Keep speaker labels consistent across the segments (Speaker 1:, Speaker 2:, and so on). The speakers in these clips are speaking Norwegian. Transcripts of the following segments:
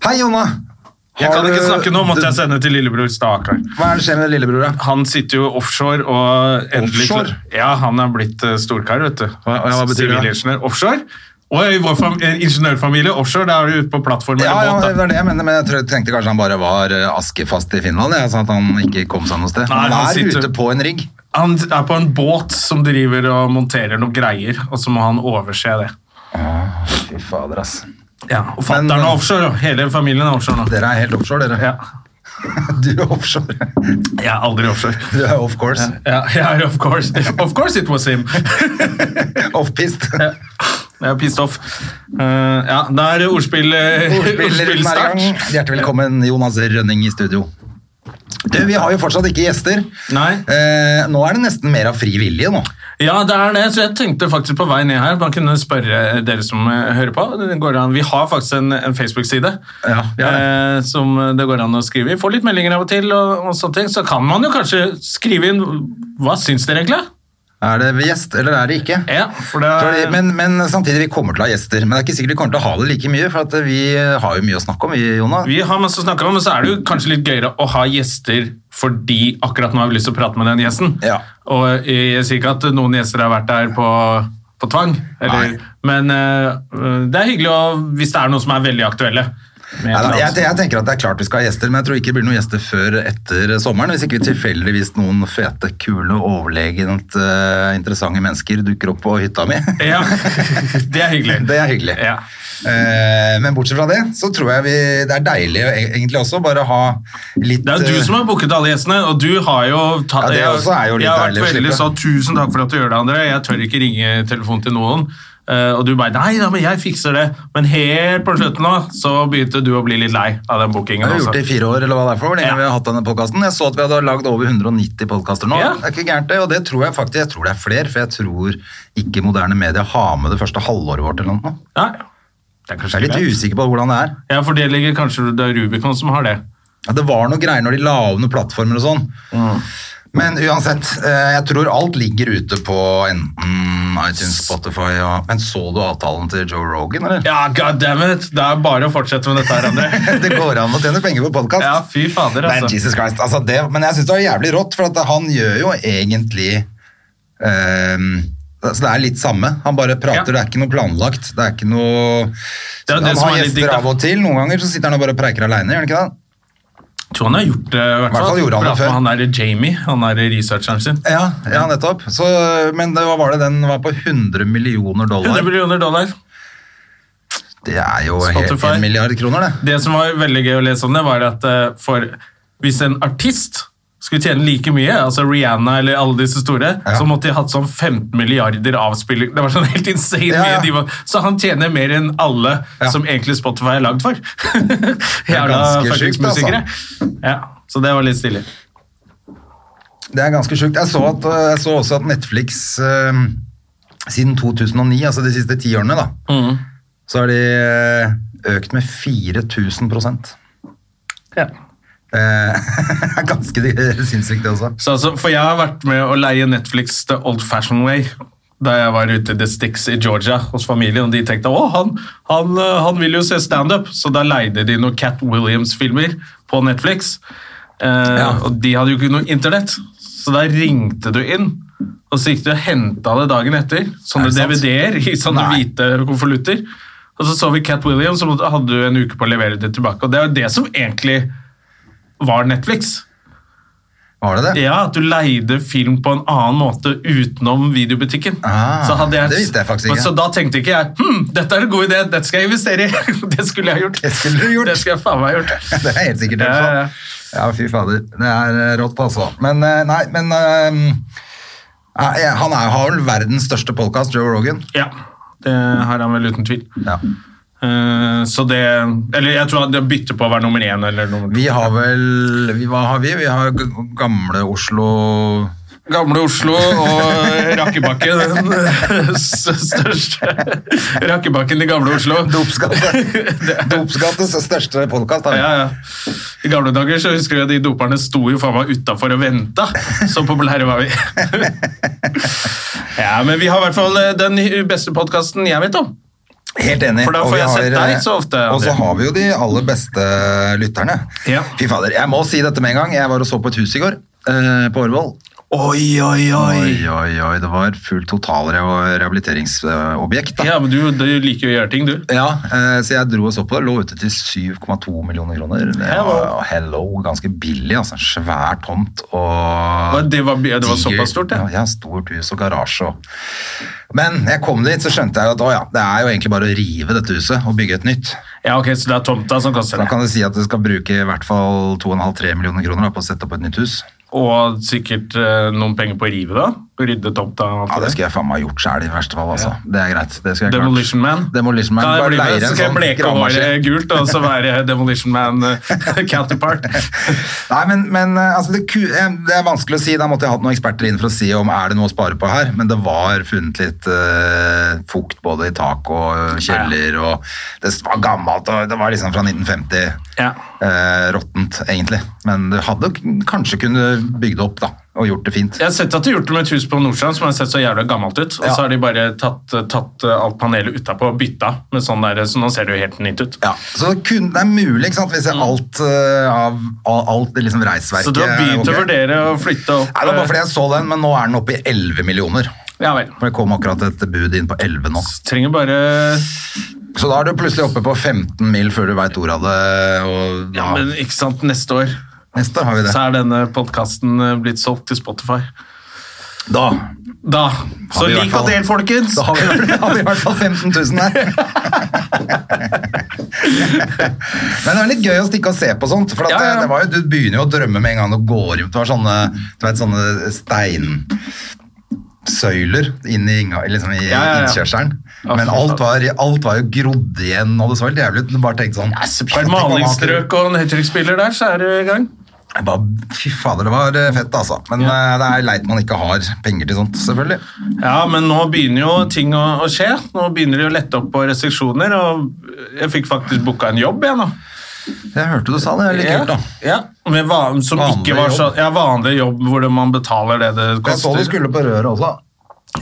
Speaker 1: Hei, Jonna!
Speaker 2: Jeg
Speaker 1: Har
Speaker 2: kan ikke
Speaker 1: du-
Speaker 2: snakke nå, måtte jeg sende til lillebror Stakkar.
Speaker 1: Hva er det som skjer med lillebror, da?
Speaker 2: Han sitter jo offshore og endelig
Speaker 1: Offshore?
Speaker 2: Ja, han er blitt eh, storkar, vet du.
Speaker 1: Hva- hva betyr det?
Speaker 2: Sivilingeniør. Offshore. Og i vår fam eh, ingeniørfamilie, offshore, da er du ute på plattform
Speaker 1: Ja, ja,
Speaker 2: eller
Speaker 1: det
Speaker 2: båt. da.
Speaker 1: var det jeg mente, men jeg tror- tenkte kanskje han bare var eh, askefast i Finland. Jeg, så at han ikke kom seg noe sted.
Speaker 2: Nei,
Speaker 1: han
Speaker 2: han
Speaker 1: er
Speaker 2: sitter-
Speaker 1: ute på en rigg.
Speaker 2: Han er på en båt som driver og monterer noen greier, og så må han overse det.
Speaker 1: Fy fader, ass.
Speaker 2: Ja, og
Speaker 1: Men- eh,
Speaker 2: fatter'n er offshore, og hele familien er offshore nå.
Speaker 1: Dere er helt offshore, dere.
Speaker 2: Ja,
Speaker 1: Du er offshore.
Speaker 2: jeg er aldri offshore.
Speaker 1: Du er off course.
Speaker 2: Ja, jeg er of course. Of course it was him.
Speaker 1: Off-pist.
Speaker 2: Jeg er pissed off. Eh, ja, det er ordspill, eh, ordspillstart.
Speaker 1: Hjertelig velkommen, Jonas Rønning i studio. Du, vi har jo fortsatt ikke gjester.
Speaker 2: Nei.
Speaker 1: Eh, nå er det nesten mer av fri vilje, nå.
Speaker 2: Ja, det er det. Så jeg tenkte faktisk på vei ned her. Man kunne spørre dere som eh, hører på. Det går an. Vi har faktisk en, en Facebook-side
Speaker 1: Ja, vi har
Speaker 2: eh, som det går an å skrive i. Får litt meldinger av og til, og, og sånne ting. Så kan man jo kanskje skrive inn Hva syns dere egentlig?
Speaker 1: Er det gjest, eller er det ikke?
Speaker 2: Ja, for det
Speaker 1: Fordi, men, men samtidig, vi kommer til å ha gjester. Men det er ikke sikkert vi kommer til å ha det like mye, for at vi eh, har jo mye å snakke om, vi, Jonna.
Speaker 2: Vi har masse å snakke om, men så er det jo kanskje litt gøyere å ha gjester fordi akkurat nå har vi lyst til å prate med den gjesten.
Speaker 1: Ja.
Speaker 2: Og jeg sier ikke at noen gjester har vært der på, på tvang, eller,
Speaker 1: Nei.
Speaker 2: men eh, det er hyggelig å, hvis det er noen som er veldig aktuelle. med
Speaker 1: Neida,
Speaker 2: et eller
Speaker 1: jeg,
Speaker 2: annet.
Speaker 1: jeg tenker at det er klart vi skal ha gjester, men jeg tror ikke det blir noen gjester før etter sommeren. Hvis ikke vi tilfeldigvis noen fete, kule, overlegent eh, interessante mennesker dukker opp på hytta mi.
Speaker 2: Ja, det er hyggelig.
Speaker 1: Det er hyggelig.
Speaker 2: Ja.
Speaker 1: Eh, men bortsett fra det, så tror jeg vi, det er deilig e- egentlig også bare ha litt
Speaker 2: Det er jo
Speaker 1: eh,
Speaker 2: du som har booket alle gjestene, og du har jo tatt
Speaker 1: Ja, det også er jo litt
Speaker 2: Jeg har vært
Speaker 1: deilig å
Speaker 2: veldig
Speaker 1: slippe.
Speaker 2: sånn Tusen takk for at du gjør det, André. Jeg tør ikke ringe telefonen til noen. Eh, og du bare Nei da, men jeg fikser det. Men helt på slutten nå, så begynte du å bli litt lei av
Speaker 1: Vi
Speaker 2: den bookingen. altså.
Speaker 1: har gjort
Speaker 2: også.
Speaker 1: det i fire år, eller hva det er for hvor lenge
Speaker 2: Ja.
Speaker 1: vi har hatt denne podcasten. Jeg så at vi hadde lagd over 190 podcaster nå.
Speaker 2: Ja.
Speaker 1: Det er ikke gærent det, og det tror jeg faktisk, jeg tror det er flere, for jeg tror ikke moderne medier har med det første halvåret vårt eller noe.
Speaker 2: Nei, det er
Speaker 1: Så
Speaker 2: kanskje
Speaker 1: jeg er litt
Speaker 2: greit.
Speaker 1: usikker på hvordan det er.
Speaker 2: Ja, for det ligger kanskje det er Rubicon som har det.
Speaker 1: Ja, det var noe greier når de la av noen plattformer og sånn. Men uansett, eh, jeg tror alt ligger ute på enten iTunes, Spotify og Men så du avtalen til Joe Rogan, eller?
Speaker 2: Ja, god damn it! Det er bare å fortsette med dette her, André.
Speaker 1: Det går an å tjene penger på podkast.
Speaker 2: Ja, fy fader,
Speaker 1: Men
Speaker 2: altså.
Speaker 1: Jesus Christ, altså det, men jeg syns det var jævlig rått, for at han gjør jo egentlig ehm, altså Det er litt samme. Han bare prater,
Speaker 2: Ja.
Speaker 1: det er ikke noe planlagt. Det er ikke noe
Speaker 2: Det er jo det
Speaker 1: Han
Speaker 2: som
Speaker 1: har
Speaker 2: er litt digg,
Speaker 1: gjester
Speaker 2: da.
Speaker 1: av og til. Noen ganger så sitter han og bare preiker aleine, gjør han ikke det?
Speaker 2: Jeg tror han har gjort det, i hvert
Speaker 1: fall
Speaker 2: fall.
Speaker 1: gjorde han det
Speaker 2: Pratet med
Speaker 1: før.
Speaker 2: Han der Jamie, han der researcheren sin.
Speaker 1: Ja, ja nettopp. Så, men det, hva var det? Den var på 100 millioner
Speaker 2: 100
Speaker 1: dollar.
Speaker 2: millioner dollar.
Speaker 1: Det er jo helt
Speaker 2: Spotify.
Speaker 1: en milliard kroner, det.
Speaker 2: Det som var veldig gøy å lese om det, var at eh, for hvis en artist skulle tjene like mye, altså Rihanna eller alle disse store,
Speaker 1: Ja.
Speaker 2: så måtte de hatt sånn 15 milliarder avspilling. Det var sånn helt insane
Speaker 1: Ja, ja.
Speaker 2: mye. De var, så han tjener mer enn alle
Speaker 1: Ja.
Speaker 2: som egentlig Spotify er lagd for.
Speaker 1: ganske sjukt,
Speaker 2: Jævla
Speaker 1: altså.
Speaker 2: fuckingsmusikere. Ja, så det var litt stilig.
Speaker 1: Det er ganske sjukt. Jeg så, at, eh, jeg så også at Netflix ehm, siden 2009, altså de siste ti årene, da,
Speaker 2: Mm.
Speaker 1: så har de eh, økt med 4000 prosent.
Speaker 2: Ja.
Speaker 1: Det er ganske sinnssykt, det også.
Speaker 2: Så altså, for jeg har vært med å leie Netflix The Old Fashioned Way da jeg var ute i The Sticks i Georgia hos familien, og de tenkte å, han, han, eh, han vil jo se standup, så da leide de noen Cat Williams-filmer på Netflix. Eh, Og de hadde jo ikke noe internett, så da ringte du inn. Og så gikk du og henta det dagen etter, sånne
Speaker 1: Er det sant?
Speaker 2: DVD-er i sånne
Speaker 1: Nei.
Speaker 2: hvite konvolutter. Og så så vi Cat Williams, og så hadde du en uke på å levere det tilbake. Og det er jo det som egentlig var Netflix.
Speaker 1: Var det det?
Speaker 2: Ja, at du leide film på en annen måte utenom videobutikken.
Speaker 1: Ah,
Speaker 2: Så hadde
Speaker 1: det visste jeg faktisk ikke.
Speaker 2: Men Så da tenkte ikke jeg hm, dette er en god idé, dette skal jeg investere i. det skulle jeg gjort.
Speaker 1: Det skulle du gjort.
Speaker 2: Det skal jeg faen meg gjort.
Speaker 1: Det er helt sikkert. i
Speaker 2: Ja,
Speaker 1: hvert fall.
Speaker 2: ja, ja.
Speaker 1: Ja, fy fader. Det er eh, rått, altså. Men eh, nei, men eh, eh, Han er, har vel verdens største podkast, Joe Rogan.
Speaker 2: ja, det har han vel uten tvil.
Speaker 1: Ja.
Speaker 2: Eh, så det Eller jeg tror det bytter på å være nummer én eller nummer to.
Speaker 1: Vi har vel vi, Hva har vi? Vi har g- gamle Oslo
Speaker 2: Gamle Oslo og Rakkebakken. Den største Rakkebakken i Gamle Oslo.
Speaker 1: Dopsgate. Dopsgates største podkast.
Speaker 2: Ja, ja. I gamle dager så husker jeg at de doperne sto jo faen meg utafor og venta. Så populære var vi. ja, men vi har i hvert fall eh, den beste podkasten jeg vet om.
Speaker 1: Helt enig.
Speaker 2: For da
Speaker 1: Og
Speaker 2: får
Speaker 1: vi
Speaker 2: jeg sett
Speaker 1: har, eh,
Speaker 2: deg så ofte, André.
Speaker 1: Og så har vi jo de aller beste lytterne.
Speaker 2: Ja.
Speaker 1: Fy fader, jeg må si dette med en gang. Jeg var og så på et hus i går, eh, på Årvoll.
Speaker 2: Oi, oi,
Speaker 1: Oi, oi, oi, det var fullt totalrehabiliteringsobjekt. da.
Speaker 2: Ja, men du, du liker jo å gjøre ting, du.
Speaker 1: Ja, eh, så jeg dro og så på det. Lå ute til 7,2 millioner kroner. Det
Speaker 2: Hello.
Speaker 1: var- hello. Ganske billig, altså. Svær tomt
Speaker 2: Og
Speaker 1: og
Speaker 2: Det var, det var
Speaker 1: diger-
Speaker 2: såpass stort,
Speaker 1: Ja,
Speaker 2: det.
Speaker 1: ja, stort hus og garasje og Men jeg kom dit, så skjønte jeg at å ja, det er jo egentlig bare å rive dette huset og bygge et nytt.
Speaker 2: Ja, ok, Så det er tomta som
Speaker 1: Så
Speaker 2: koster
Speaker 1: da
Speaker 2: det.
Speaker 1: kan du si at du skal bruke i hvert fall 2,5-3 millioner kroner da, på å sette opp et nytt hus.
Speaker 2: Og sikkert eh, noen penger på å rive, da. Rydde tomta. og
Speaker 1: Ja, Det
Speaker 2: alt det der.
Speaker 1: skulle jeg faen meg gjort sjæl, i verste fall. altså. Det er greit. Det skulle jeg klart.
Speaker 2: Demolition Man.
Speaker 1: Demolition Man.
Speaker 2: Kan jeg
Speaker 1: Bare
Speaker 2: bli med?
Speaker 1: leire
Speaker 2: så
Speaker 1: en
Speaker 2: skal jeg
Speaker 1: sånn
Speaker 2: bleke eh,
Speaker 1: gravemaskin.
Speaker 2: håret gult og så være Demolition Man eh, counterpart.
Speaker 1: Nei, men, men eh, altså, det, ku- eh, det er vanskelig å si. Da måtte jeg hatt noen eksperter inn for å si om er det noe å spare på her. Men det var funnet litt eh, fukt både i tak og eh, kjeller. og Det var gammelt, og det var liksom fra 1950.
Speaker 2: Ja.
Speaker 1: Eh, råttent, egentlig. Men du hadde k- kanskje kunne bygd det opp da, og gjort det fint.
Speaker 2: Jeg har sett at de har gjort det med et hus på Nordstrand som har sett så jævla gammelt ut. Og
Speaker 1: Ja.
Speaker 2: så har de bare tatt, eh, tatt alt panelet utapå og bytta med sånn der, så nå ser det jo helt nytt ut.
Speaker 1: Ja, så det, kun, det er mulig, ikke sant, hvis jeg alt eh, av al- alt det liksom reisverket
Speaker 2: Mm. Så du har
Speaker 1: ok.
Speaker 2: begynt å vurdere å flytte opp
Speaker 1: Nei, det var bare fordi jeg så den, men nå er den oppe i 11 millioner.
Speaker 2: eh, Ja vel.
Speaker 1: For det kom akkurat et bud inn på 11 nå.
Speaker 2: Trenger bare
Speaker 1: Så da er du plutselig oppe på 15 mil før du veit ordet av det. Og
Speaker 2: Ja,
Speaker 1: ja,
Speaker 2: men ikke sant, neste år
Speaker 1: neste har vi det.
Speaker 2: så er denne podkasten blitt solgt til Spotify.
Speaker 1: Da,
Speaker 2: Da! Så
Speaker 1: vi i hvert
Speaker 2: lik og
Speaker 1: fall-
Speaker 2: del, folkens!
Speaker 1: da har, vi, da har vi i hvert fall 15 000 der. Men det er litt gøy å stikke og se på sånt. For at
Speaker 2: Ja, ja, ja.
Speaker 1: Det, det var jo, du begynner jo å drømme med en gang du går inn. Det var sånne, du vet, sånne steinsøyler inn i, innga- liksom i
Speaker 2: Ja, ja, ja.
Speaker 1: innkjørselen.
Speaker 2: Ja,
Speaker 1: Men
Speaker 2: fy
Speaker 1: alt
Speaker 2: faen.
Speaker 1: var, alt var jo grodd igjen, og det så helt jævlig ut. Du bare tenkte sånn
Speaker 2: På et malingsstrøk og en høytrykksspiller der, så er du i gang.
Speaker 1: Jeg bare, fy fader, det var eh, fett, altså. Men eh, det er leit man ikke har penger til sånt, selvfølgelig.
Speaker 2: Ja, men nå begynner jo ting å, å skje. Nå begynner de å lette opp på restriksjoner, og jeg fikk faktisk booka en jobb, jeg nå.
Speaker 1: Jeg hørte du sa det, det er litt kult, da.
Speaker 2: Ja, med van, som
Speaker 1: Vanlig
Speaker 2: ikke var
Speaker 1: jobb.
Speaker 2: sånn Ja, vanlig jobb hvor det- man betaler det det
Speaker 1: Jeg så
Speaker 2: koster.
Speaker 1: du skulle på røret også.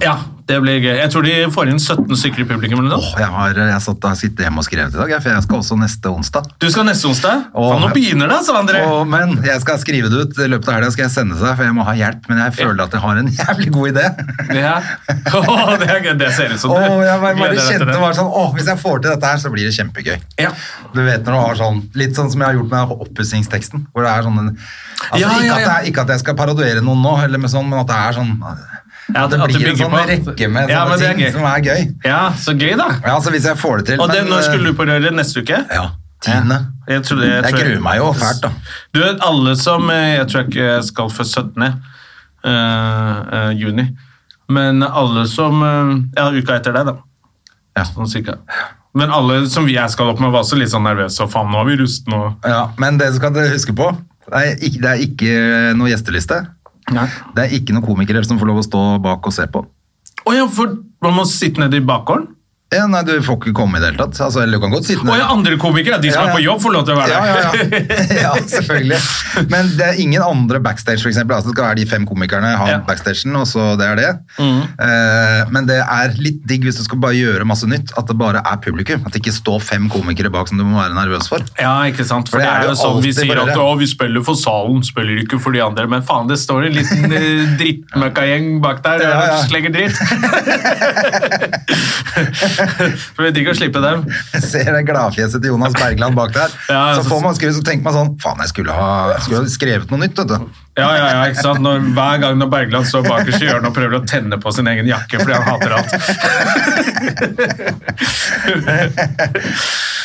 Speaker 2: Ja, det blir gøy. Jeg tror de får inn 17 stykker i publikum eller noe.
Speaker 1: Åh, jeg har eh, jeg satt, jeg sitter hjemme og skrevet i dag, jeg, for jeg skal også neste onsdag.
Speaker 2: Du skal neste onsdag?
Speaker 1: Åh.
Speaker 2: Faen, nå begynner det, altså, André!
Speaker 1: Åh, men jeg skal skrive det ut. I løpet av helga skal jeg sende seg, for jeg må ha hjelp. Men jeg føler at jeg har en jævlig god idé.
Speaker 2: Ja. Åh, det, er gøy. det ser ut som
Speaker 1: Åh, jeg bare,
Speaker 2: gleder
Speaker 1: bare
Speaker 2: deg til
Speaker 1: kjente
Speaker 2: det.
Speaker 1: bare sånn, åh, Hvis jeg får til dette her, så blir det kjempegøy.
Speaker 2: Ja.
Speaker 1: Du vet når du har sånn, Litt sånn som jeg har gjort med oppussingsteksten. Hvor det er sånn en, altså,
Speaker 2: Ja,
Speaker 1: ikke,
Speaker 2: ja,
Speaker 1: at det
Speaker 2: ja.
Speaker 1: er, ikke at jeg skal parodiere noen nå, eller med sånn, men at det er sånn
Speaker 2: Ja,
Speaker 1: At det
Speaker 2: at det
Speaker 1: blir en
Speaker 2: bygger
Speaker 1: sånn
Speaker 2: på at-
Speaker 1: rekke med
Speaker 2: Ja,
Speaker 1: sånne
Speaker 2: men det er
Speaker 1: ting
Speaker 2: gøy.
Speaker 1: som er gøy.
Speaker 2: ja, så gøy, da.
Speaker 1: Ja, altså Hvis jeg får det til.
Speaker 2: Og det,
Speaker 1: men,
Speaker 2: når skulle
Speaker 1: eh,
Speaker 2: du på røret? Neste uke?
Speaker 1: Ja, tiende.
Speaker 2: Jeg, tror det,
Speaker 1: Jeg
Speaker 2: tror
Speaker 1: gruer meg jo fælt, da.
Speaker 2: Du vet, alle som eh, Jeg tror jeg ikke skal før 17. eh, eh, juni. Men alle som eh, Ja, uka etter deg, da.
Speaker 1: Ja.
Speaker 2: Sånn cirka. Men alle som vi- jeg skal opp med, var også litt sånn nervøse. Og faen, nå er vi rustne og
Speaker 1: Ja, men det skal dere huske på, det er ikke, det er ikke noe gjesteliste. Det er ikke noen komikere som får lov å stå bak og se på.
Speaker 2: Å ja, for man må sitte nede i bakgården?
Speaker 1: Ja, nei, Du får ikke komme i det hele tatt. Altså, eller du kan godt sitte
Speaker 2: Å ja, andre komikere! De som
Speaker 1: Ja, ja.
Speaker 2: er på jobb, får lov til å være
Speaker 1: Ja,
Speaker 2: der.
Speaker 1: ja, ja. ja, selvfølgelig. Men det er ingen andre backstage, for eksempel. Altså, det skal være de fem komikerne ha
Speaker 2: Ja. Mm.
Speaker 1: backstagen, og så det er det. Eh, men det er litt digg hvis du skal bare gjøre masse nytt, at det bare er publikum. At det ikke står fem komikere bak som du må være nervøs for.
Speaker 2: Ja, ikke sant? For det er jo sånn vi
Speaker 1: alltid
Speaker 2: sier at
Speaker 1: bare-
Speaker 2: å, vi spiller for salen, spiller ikke for de andre. Men faen, det står en liten eh, drittmøkkagjeng bak der og
Speaker 1: Ja, ja.
Speaker 2: slenger dritt. For det er digg å slippe dem.
Speaker 1: Jeg ser det gladfjeset til Jonas Bergland bak der.
Speaker 2: Ja,
Speaker 1: så
Speaker 2: så-
Speaker 1: får man skru, så tenker man sånn Faen, jeg skulle ha jeg skulle ha skrevet noe nytt, vet du.
Speaker 2: Ja, ja, ja, ikke sant? Når, hver gang når Bergland står bakerst i hjørnet og prøver å tenne på sin egen jakke fordi han hater alt.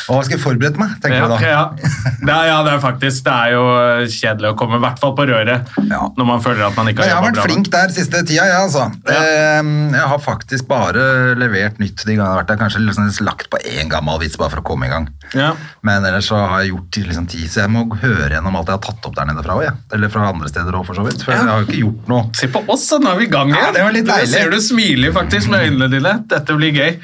Speaker 1: Og hva skal jeg forberede meg, tenker
Speaker 2: Ja,
Speaker 1: du da.
Speaker 2: ja. Det er, ja, det er faktisk det er jo eh, kjedelig å komme, i hvert fall på røret,
Speaker 1: Ja.
Speaker 2: når man føler at man ikke
Speaker 1: Men jeg
Speaker 2: har
Speaker 1: har vært
Speaker 2: jobbet bra.
Speaker 1: flink der siste tida, jeg, altså. Ehm, Jeg har faktisk bare levert nytt de gangene jeg har vært der. Kanskje liksom lagt på én gammel vits bare for å komme i gang.
Speaker 2: Ja.
Speaker 1: Men ellers så har jeg gjort liksom ti, så jeg må høre gjennom alt jeg har tatt opp der nede fra òg, jeg. Eller fra andre steder òg, for så vidt. For jeg har jo ikke gjort noe.
Speaker 2: Se på oss, da, nå er vi i gang igjen.
Speaker 1: Ja, det var litt
Speaker 2: Jeg
Speaker 1: deilig.
Speaker 2: ser du smiler faktisk med øynene dine. Dette blir gøy.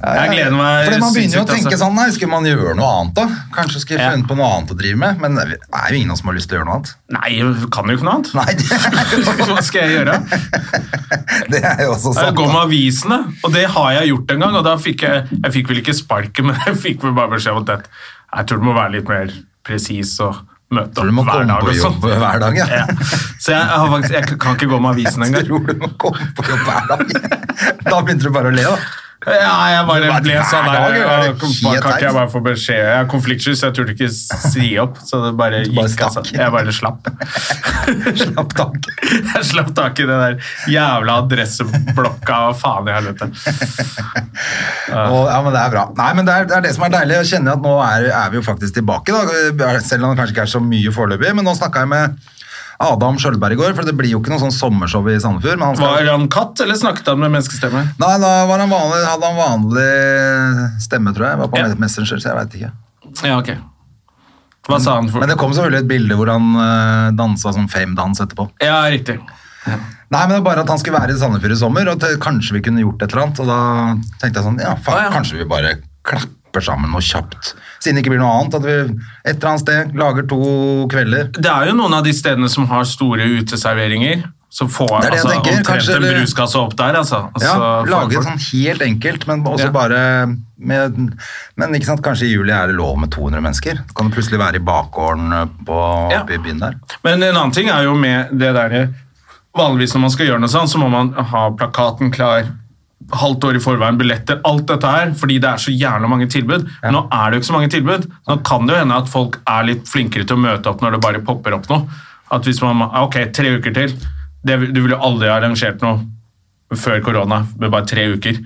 Speaker 2: Jeg gleder meg
Speaker 1: Fordi Man begynner jo å
Speaker 2: sinnssykt,
Speaker 1: tenke
Speaker 2: altså.
Speaker 1: sånn, nei, skulle man gjøre noe annet da? Kanskje skulle jeg
Speaker 2: Ja.
Speaker 1: funnet på noe annet å drive med? Men det er jo ingen av oss som har lyst til å gjøre noe annet.
Speaker 2: Nei, jeg kan jo ikke noe annet.
Speaker 1: Nei, det er jo,
Speaker 2: Hva skal jeg gjøre?
Speaker 1: det er jo også sånn
Speaker 2: Jeg
Speaker 1: sant.
Speaker 2: går med
Speaker 1: da.
Speaker 2: avisene, og det har jeg gjort en gang. Og da fikk jeg Jeg fikk vel ikke sparket, men jeg fikk vel bare beskjed om at jeg tror du må være litt mer presis og møte
Speaker 1: Tror du må
Speaker 2: opp hver
Speaker 1: komme
Speaker 2: dag.
Speaker 1: på
Speaker 2: og sånt.
Speaker 1: jobb hver dag, ja.
Speaker 2: Ja. Så jeg, har faktisk, jeg kan ikke gå med avisen
Speaker 1: Jeg
Speaker 2: engang.
Speaker 1: tror du må komme på jobb hver dag. Da begynte du bare å le, da.
Speaker 2: Ja, jeg bare
Speaker 1: Hver
Speaker 2: ble sånn
Speaker 1: dag,
Speaker 2: der.
Speaker 1: er det
Speaker 2: jeg- Kan
Speaker 1: helt
Speaker 2: kan ikke jeg
Speaker 1: teit?
Speaker 2: bare få beskjed? Jeg har konfliktsky, så jeg turte ikke si opp. Så det bare
Speaker 1: Du bare
Speaker 2: gikk, altså.
Speaker 1: stakk.
Speaker 2: Jeg bare slapp.
Speaker 1: Slapp tak.
Speaker 2: Jeg slapp tak i den der jævla adresseblokka og faen jeg har løpt
Speaker 1: Og, ja, men det er bra. Nei, men det er, det er det som er deilig. Jeg kjenner at nå er, er vi jo faktisk tilbake, da. Selv om det kanskje ikke er så mye foreløpig. Men nå snakka jeg med Adam Skjølberg i går, for det blir jo ikke noe sånn sommershow i Sandefjord. Men han
Speaker 2: Var
Speaker 1: skal...
Speaker 2: han katt, eller snakket han med menneskestemme?
Speaker 1: Nei, da var han vanlig, hadde han vanlig stemme, tror jeg. Var på
Speaker 2: Ja.
Speaker 1: Messenger, så jeg veit ikke.
Speaker 2: Ja, ok. Hva sa han for
Speaker 1: Men det kom selvfølgelig et bilde hvor han eh, dansa som fame-dans etterpå.
Speaker 2: Ja, riktig.
Speaker 1: Nei, men det var bare at han skulle være i Sandefjord i sommer, og at kanskje vi kunne gjort et eller annet. Og da tenkte jeg sånn, ja, faen,
Speaker 2: Ah, ja.
Speaker 1: kanskje vi bare klapper sammen noe kjapt. Siden det ikke blir noe annet, at vi et eller annet sted lager to kvelder.
Speaker 2: Det er jo noen av de stedene som har store uteserveringer. Så får
Speaker 1: Det er det jeg
Speaker 2: altså,
Speaker 1: tenker,
Speaker 2: omtrent
Speaker 1: kanskje
Speaker 2: en
Speaker 1: det-
Speaker 2: bruskasse opp der, altså. Og
Speaker 1: Ja,
Speaker 2: så får
Speaker 1: lage
Speaker 2: folk-
Speaker 1: det sånn helt enkelt, men også
Speaker 2: Ja.
Speaker 1: bare med, Men ikke sant, kanskje i juli er det lov med 200 mennesker? Så kan det plutselig være i bakgården eh, på,
Speaker 2: Ja.
Speaker 1: oppe i byen der.
Speaker 2: Men en annen ting er jo med det der Vanligvis når man skal gjøre noe sånn, så må man ha plakaten klar halvt år i forveien, billetter, alt dette her, fordi det er så jævla mange tilbud. Nå er det jo ikke så mange tilbud. Nå kan det jo hende at folk er litt flinkere til å møte opp når det bare popper opp noe. At hvis man ah, Ok, tre uker til. Det, du ville jo aldri ha arrangert noe før korona, med bare tre uker.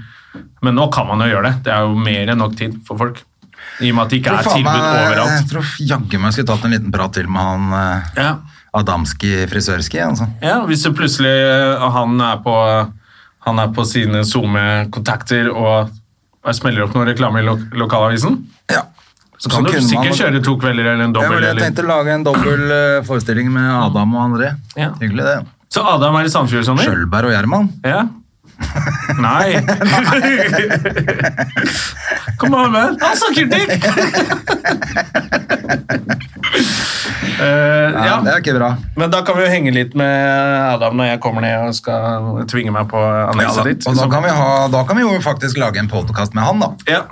Speaker 2: Men nå kan man jo gjøre det. Det er jo mer enn nok tid for folk. I og med at det ikke
Speaker 1: Jeg
Speaker 2: er
Speaker 1: tror faen
Speaker 2: tilbud
Speaker 1: meg- Jeg
Speaker 2: overalt.
Speaker 1: tror jaggu meg jeg skulle tatt en liten prat til med han eh,
Speaker 2: Ja.
Speaker 1: Adamski frisørski, altså.
Speaker 2: Ja, hvis du plutselig eh, han er på, han er på sine SoMe-kontakter og og smeller opp noen reklame i lo lokalavisen,
Speaker 1: Ja.
Speaker 2: så kan du
Speaker 1: kunne man-
Speaker 2: sikkert kjøre to kvelder eller
Speaker 1: Ja,
Speaker 2: en dobbel.
Speaker 1: men jeg
Speaker 2: eller-
Speaker 1: tenkte lage en dobbel eh, forestilling med Adam og André.
Speaker 2: Ja.
Speaker 1: Hyggelig det.
Speaker 2: Så Adam er i Sandfjord i sommer?
Speaker 1: Sjølberg og Gjerman.
Speaker 2: Ja. Nei. Kom an, man. Han snakker dick! Eh,
Speaker 1: Ja.
Speaker 2: ja.
Speaker 1: Det er ikke bra.
Speaker 2: Men da kan vi jo henge litt med Adam når jeg kommer ned og skal tvinge meg på
Speaker 1: Ja, da.
Speaker 2: annekset ditt. liksom.
Speaker 1: Og da kan, vi ha, da kan vi jo faktisk lage en podkast med han, da.
Speaker 2: ja.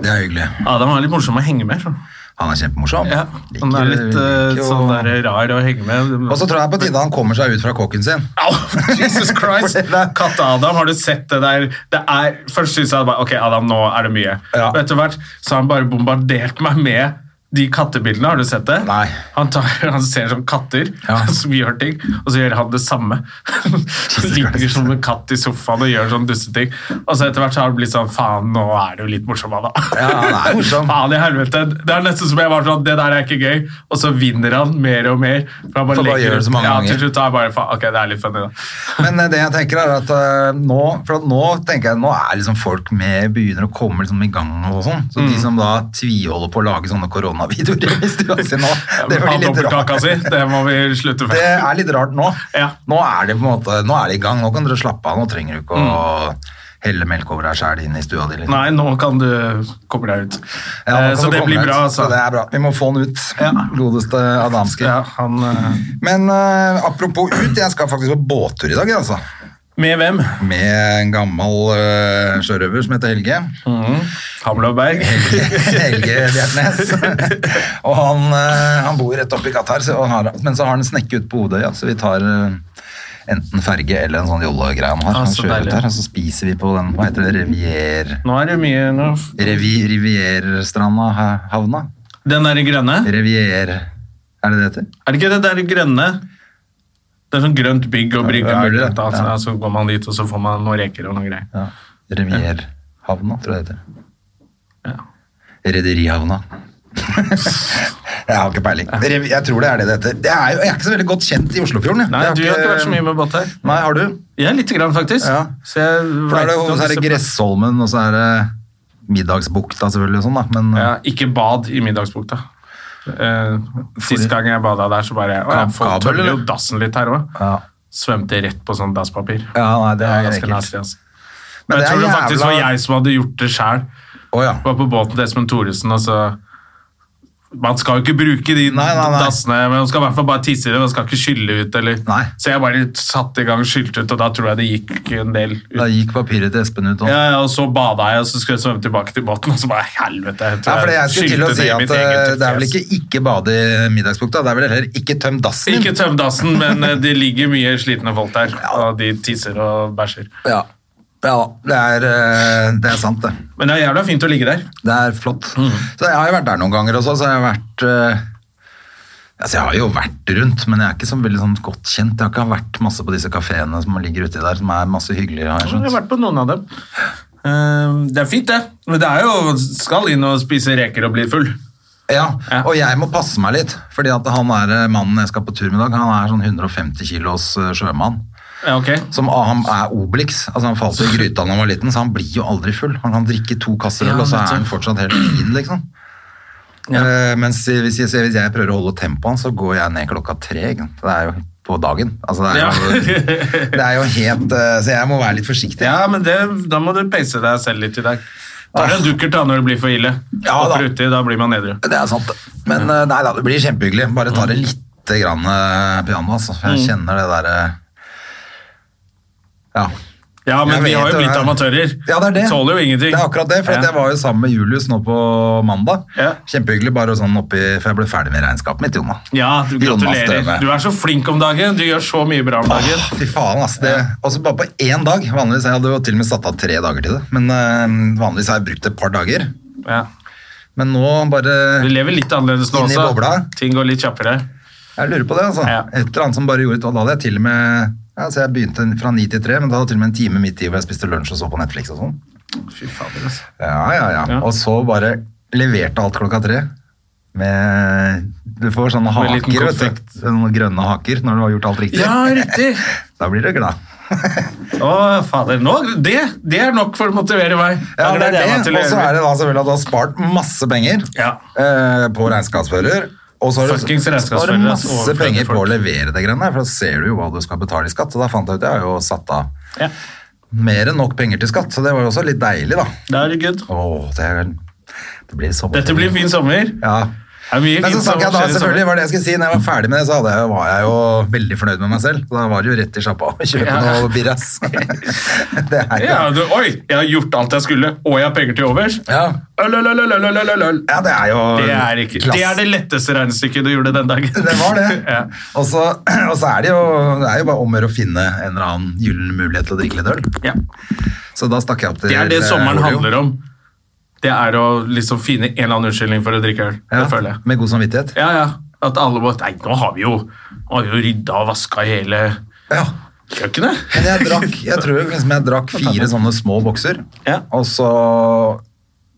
Speaker 1: Det er hyggelig.
Speaker 2: Adam er litt morsom å henge med. Sånn.
Speaker 1: Han er kjempemorsom.
Speaker 2: Ja,
Speaker 1: Liker-
Speaker 2: han er litt eh,
Speaker 1: liker å-
Speaker 2: sånn der rar å henge med.
Speaker 1: Og så tror jeg på tide han kommer seg ut fra kåken sin.
Speaker 2: Au! Jesus Christ!
Speaker 1: For det der-
Speaker 2: Katte-Adam, har du sett det der? Det er, først syntes jeg bare Ok, Adam, nå er det mye.
Speaker 1: Ja.
Speaker 2: Og etter hvert så har han bare bombardert meg med de kattebildene. Har du sett det?
Speaker 1: Nei.
Speaker 2: Han, tar, han ser som katter
Speaker 1: Ja.
Speaker 2: som gjør ting, og så gjør han det samme. Han Ligger
Speaker 1: Christ.
Speaker 2: som en katt i sofaen og gjør sånn dusteting. Og så etter hvert så har han blitt sånn Faen, nå er du litt morsom, Adam.
Speaker 1: Ja, han er morsom.
Speaker 2: Faen i helvete. Det er nesten som jeg var sånn Det der er ikke gøy. Og så vinner han mer og mer. For han bare
Speaker 1: For bare
Speaker 2: legger
Speaker 1: gjør det
Speaker 2: ut-
Speaker 1: så mange
Speaker 2: ja,
Speaker 1: ganger.
Speaker 2: Til slutt er jeg bare faen, ok, det er litt funny, da.
Speaker 1: Men eh, det jeg tenker er at eh, nå For at nå tenker jeg Nå er liksom folk med Begynner å komme liksom i gang og sånn. Så
Speaker 2: Mm.
Speaker 1: de som da tviholder på å lage sånne koronavideoer i stua si nå, det
Speaker 2: Han
Speaker 1: blir litt rart.
Speaker 2: dobbeltkaka si, det må vi slutte
Speaker 1: Det
Speaker 2: med.
Speaker 1: er litt rart nå.
Speaker 2: Ja.
Speaker 1: Nå er det på en måte, nå er det i gang. Nå kan dere slappe av. Nå trenger du ikke å helle melk over deg sjæl inn i stua di. liksom.
Speaker 2: Mm. Nei, nå kan du komme deg ut.
Speaker 1: Ja, nå
Speaker 2: Eh,
Speaker 1: kan
Speaker 2: så
Speaker 1: du
Speaker 2: det
Speaker 1: komme
Speaker 2: blir
Speaker 1: deg ut.
Speaker 2: bra, altså.
Speaker 1: Så det er bra. Vi må få den ut.
Speaker 2: Ja.
Speaker 1: Godeste Adamski.
Speaker 2: Ja, han, eh,
Speaker 1: Men eh, apropos ut, jeg skal faktisk på båttur i dag, altså.
Speaker 2: med hvem?
Speaker 1: Med en gammel eh, sjørøver som heter Helge. Mhm.
Speaker 2: Hamlow Berg.
Speaker 1: Helge Bjertnæs. og han, eh, han bor rett oppi gata her, så han har, men så har han en snekke ute på Odøya, så vi tar eh, enten ferge eller en sånn jollegreie han har.
Speaker 2: Ah,
Speaker 1: han
Speaker 2: så
Speaker 1: kjører
Speaker 2: deilig.
Speaker 1: ut her, og så spiser vi på den, hva heter det, Rivier...
Speaker 2: Nå er det mye nå.
Speaker 1: Revi, Rivierstranda ha- havna?
Speaker 2: Den der grønne?
Speaker 1: Rivier... Er det det heter?
Speaker 2: Er det ikke det der grønne? Det er sånn grønt bygg og brygge.
Speaker 1: Ja, er det det?
Speaker 2: blant annet.
Speaker 1: Ja.
Speaker 2: Så går man dit, og så får man noen reker og noen greier.
Speaker 1: Ja. Revierhavna, tror jeg det heter.
Speaker 2: Ja.
Speaker 1: Rederihavna. jeg har ikke peiling. Rev- Jeg tror det er det det heter. Det er jo, jeg er ikke så veldig godt kjent i Oslofjorden. jeg.
Speaker 2: Nei,
Speaker 1: Jeg
Speaker 2: du har ikke vært så mye med båt her.
Speaker 1: Nei, har du?
Speaker 2: Ja, lite grann, faktisk.
Speaker 1: Ja.
Speaker 2: Så jeg
Speaker 1: For da er det,
Speaker 2: vet
Speaker 1: jo-
Speaker 2: om
Speaker 1: så er
Speaker 2: disse
Speaker 1: det Gressholmen, og så er det Middagsbukta selvfølgelig og sånn, da. Men
Speaker 2: Ja, ikke bad i middagsbukta. Eh, Sist gang jeg bada der, så bare å, ja, Folk
Speaker 1: Kabel,
Speaker 2: tømmer jo
Speaker 1: eller?
Speaker 2: dassen litt her òg.
Speaker 1: ja.
Speaker 2: Svømte rett på sånn dasspapir.
Speaker 1: Ja, nei, det er
Speaker 2: ganske
Speaker 1: ekkelt.
Speaker 2: nasty, altså.
Speaker 1: Men
Speaker 2: Men
Speaker 1: det er
Speaker 2: jeg tror det faktisk var
Speaker 1: jævla-
Speaker 2: jeg som hadde gjort det sjæl.
Speaker 1: Å ja.
Speaker 2: Var på båten til Espen Thoresen, og så Man skal jo ikke bruke de
Speaker 1: Nei, nei, nei.
Speaker 2: dassene, men man skal i hvert fall bare tisse i det. Man skal ikke skylle ut, eller
Speaker 1: Nei.
Speaker 2: Så jeg bare satte i gang og skylte ut, og da tror jeg det gikk en del ut.
Speaker 1: Da gikk papiret til Espen ut. Og...
Speaker 2: Ja, ja, og så bada jeg, og så skulle jeg svømme tilbake til båten, og så bare helvete.
Speaker 1: Ja,
Speaker 2: Jeg tror
Speaker 1: for jeg skulle til å
Speaker 2: skylte
Speaker 1: si
Speaker 2: det i
Speaker 1: at
Speaker 2: mitt
Speaker 1: eh,
Speaker 2: eget
Speaker 1: det er vel
Speaker 2: fjes.
Speaker 1: ikke ikke bade i middagsbukta, det er vel heller ikke tøm dassen
Speaker 2: Ikke
Speaker 1: din.
Speaker 2: tøm dassen, men eh, det ligger mye slitne folk der, og de tisser og bæsjer.
Speaker 1: Ja. ja da. Det er, eh, det er sant, det.
Speaker 2: Men det er jævla fint å ligge der.
Speaker 1: Det er flott.
Speaker 2: Mm.
Speaker 1: Så jeg har jo vært der noen ganger også, så jeg har vært eh, Altså, jeg har jo vært rundt, men jeg er ikke så veldig sånn godt kjent. Jeg har ikke vært masse på disse kafeene som ligger uti der, som er masse hyggeligere, har jeg
Speaker 2: Jeg har
Speaker 1: skjønt.
Speaker 2: vært på noen av dem. Eh, Det er fint, det. Men det er jo Skal inn og spise reker og bli full.
Speaker 1: Ja,
Speaker 2: Ja.
Speaker 1: og jeg må passe meg litt, fordi at han er eh, mannen jeg skal på tur med i dag, han er sånn 150 kilos eh, sjømann.
Speaker 2: Ja, ok.
Speaker 1: Som ah, han er Obelix. Altså, han falt i gryta da han var liten, så han blir jo aldri full. Han kan drikke to kasser øl,
Speaker 2: Ja,
Speaker 1: og så er
Speaker 2: nettopp.
Speaker 1: han fortsatt helt fin, liksom. Eh, mens hvis jeg, hvis jeg prøver å holde tempoet hans, så går jeg ned klokka tre. ikke sant? Det er jo på dagen. Altså, det, er jo,
Speaker 2: Ja.
Speaker 1: det er jo helt eh, Så jeg må være litt forsiktig.
Speaker 2: Ja, men det, da må du pace deg selv litt i dag. Ta deg en dukkert da når det blir for ille.
Speaker 1: Ja, da.
Speaker 2: Hopper uti, da blir man edru.
Speaker 1: Det er sant. Men eh, nei da, det blir kjempehyggelig. Bare ta det
Speaker 2: Mm.
Speaker 1: lite grann eh, piano, altså. For jeg kjenner det derre Ja.
Speaker 2: Ja, men
Speaker 1: Jeg
Speaker 2: vi
Speaker 1: vet
Speaker 2: har jo
Speaker 1: det,
Speaker 2: blitt
Speaker 1: det er-
Speaker 2: amatører.
Speaker 1: Ja, det er det.
Speaker 2: Tåler jo ingenting.
Speaker 1: Det er akkurat det, for at
Speaker 2: Ja.
Speaker 1: jeg var jo sammen med Julius nå på mandag.
Speaker 2: Ja.
Speaker 1: Kjempehyggelig, bare sånn oppi, for jeg ble ferdig med regnskapet mitt, Jonna.
Speaker 2: Ja, du
Speaker 1: Jonas
Speaker 2: gratulerer.
Speaker 1: Støme.
Speaker 2: Du er så flink om dagen. Du gjør så mye bra om dagen.
Speaker 1: Fy faen, ass. Det, også bare på én dag. Vanligvis jeg hadde jo til og med satt av tre dager til det, men eh, vanligvis har jeg brukt et par dager.
Speaker 2: Ja.
Speaker 1: Men nå bare
Speaker 2: Du lever litt annerledes nå
Speaker 1: Inn i
Speaker 2: også.
Speaker 1: bobla.
Speaker 2: Ting går litt kjappere.
Speaker 1: Jeg lurer på det, altså.
Speaker 2: Ja.
Speaker 1: Et eller annet som bare gjorde ut. Og da hadde jeg til og med ja, så Jeg begynte fra ni til tre, men da hadde jeg til og med en time midt i hvor jeg spiste lunsj og så på Netflix og sånn.
Speaker 2: Fy fader, altså.
Speaker 1: Ja, ja, ja,
Speaker 2: Ja.
Speaker 1: Og så bare leverte alt klokka tre. Med, du får sånne
Speaker 2: Med liten
Speaker 1: haker, vet
Speaker 2: konfekt.
Speaker 1: du. Sånne grønne haker når du har gjort alt riktig.
Speaker 2: Ja, riktig!
Speaker 1: Da blir du glad.
Speaker 2: Å, fader. Nå, det, det er nok for å motivere meg.
Speaker 1: Ja,
Speaker 2: Da
Speaker 1: det er
Speaker 2: gleder jeg meg
Speaker 1: det.
Speaker 2: til å
Speaker 1: Og så
Speaker 2: gjøre
Speaker 1: er det da selvfølgelig at du har spart masse penger
Speaker 2: Ja.
Speaker 1: eh, på regnskapsfører. Og så har du
Speaker 2: Fuckings
Speaker 1: sparer
Speaker 2: regnskapsfører,
Speaker 1: du
Speaker 2: ass,
Speaker 1: masse
Speaker 2: overflødige
Speaker 1: penger på å
Speaker 2: folk.
Speaker 1: levere det greiene der, for da ser du jo hva du skal betale i skatt. Og da fant jeg ut jeg har jo satt av
Speaker 2: Ja.
Speaker 1: mer enn nok penger til skatt, så det var jo også litt deilig, da.
Speaker 2: Da er det good.
Speaker 1: Åh, det, er, det blir sommerferie.
Speaker 2: Dette blir fin sommer.
Speaker 1: Ja.
Speaker 2: Det er mye
Speaker 1: Men så
Speaker 2: fint
Speaker 1: stakk
Speaker 2: som
Speaker 1: jeg da,
Speaker 2: skjer i
Speaker 1: selvfølgelig
Speaker 2: sommer.
Speaker 1: var det jeg skulle si, når jeg var ferdig med det, så hadde jeg, var jeg jo veldig fornøyd med meg selv. Da var det jo rett i sjappa å kjøpe
Speaker 2: Ja.
Speaker 1: noe birras. det er jo...
Speaker 2: Ja, du, oi, jeg har gjort alt jeg skulle, og jeg har penger til overs.
Speaker 1: Ja.
Speaker 2: Øl, øl, øl, øl, øl, øl, øl, øl.
Speaker 1: Ja, det er jo
Speaker 2: Det er, ikke, det er det letteste regnestykket du gjorde den dagen.
Speaker 1: Det var det.
Speaker 2: Ja.
Speaker 1: Og så og så er det jo, det er jo bare om å gjøre å finne en eller annen gyllen mulighet til å drikke litt øl.
Speaker 2: Ja.
Speaker 1: Så da stakk jeg opp til eh,
Speaker 2: Det er det sommeren handler om. Det er å liksom finne en eller annen unnskyldning for å drikke øl.
Speaker 1: Ja,
Speaker 2: Det føler jeg.
Speaker 1: Med god samvittighet.
Speaker 2: Ja, ja. At alle bare Nei, nå har vi jo, har vi jo rydda og vaska hele
Speaker 1: Ja.
Speaker 2: kjøkkenet.
Speaker 1: Men jeg drakk, jeg tror liksom jeg drakk fire sånne små bokser,
Speaker 2: Ja.
Speaker 1: og så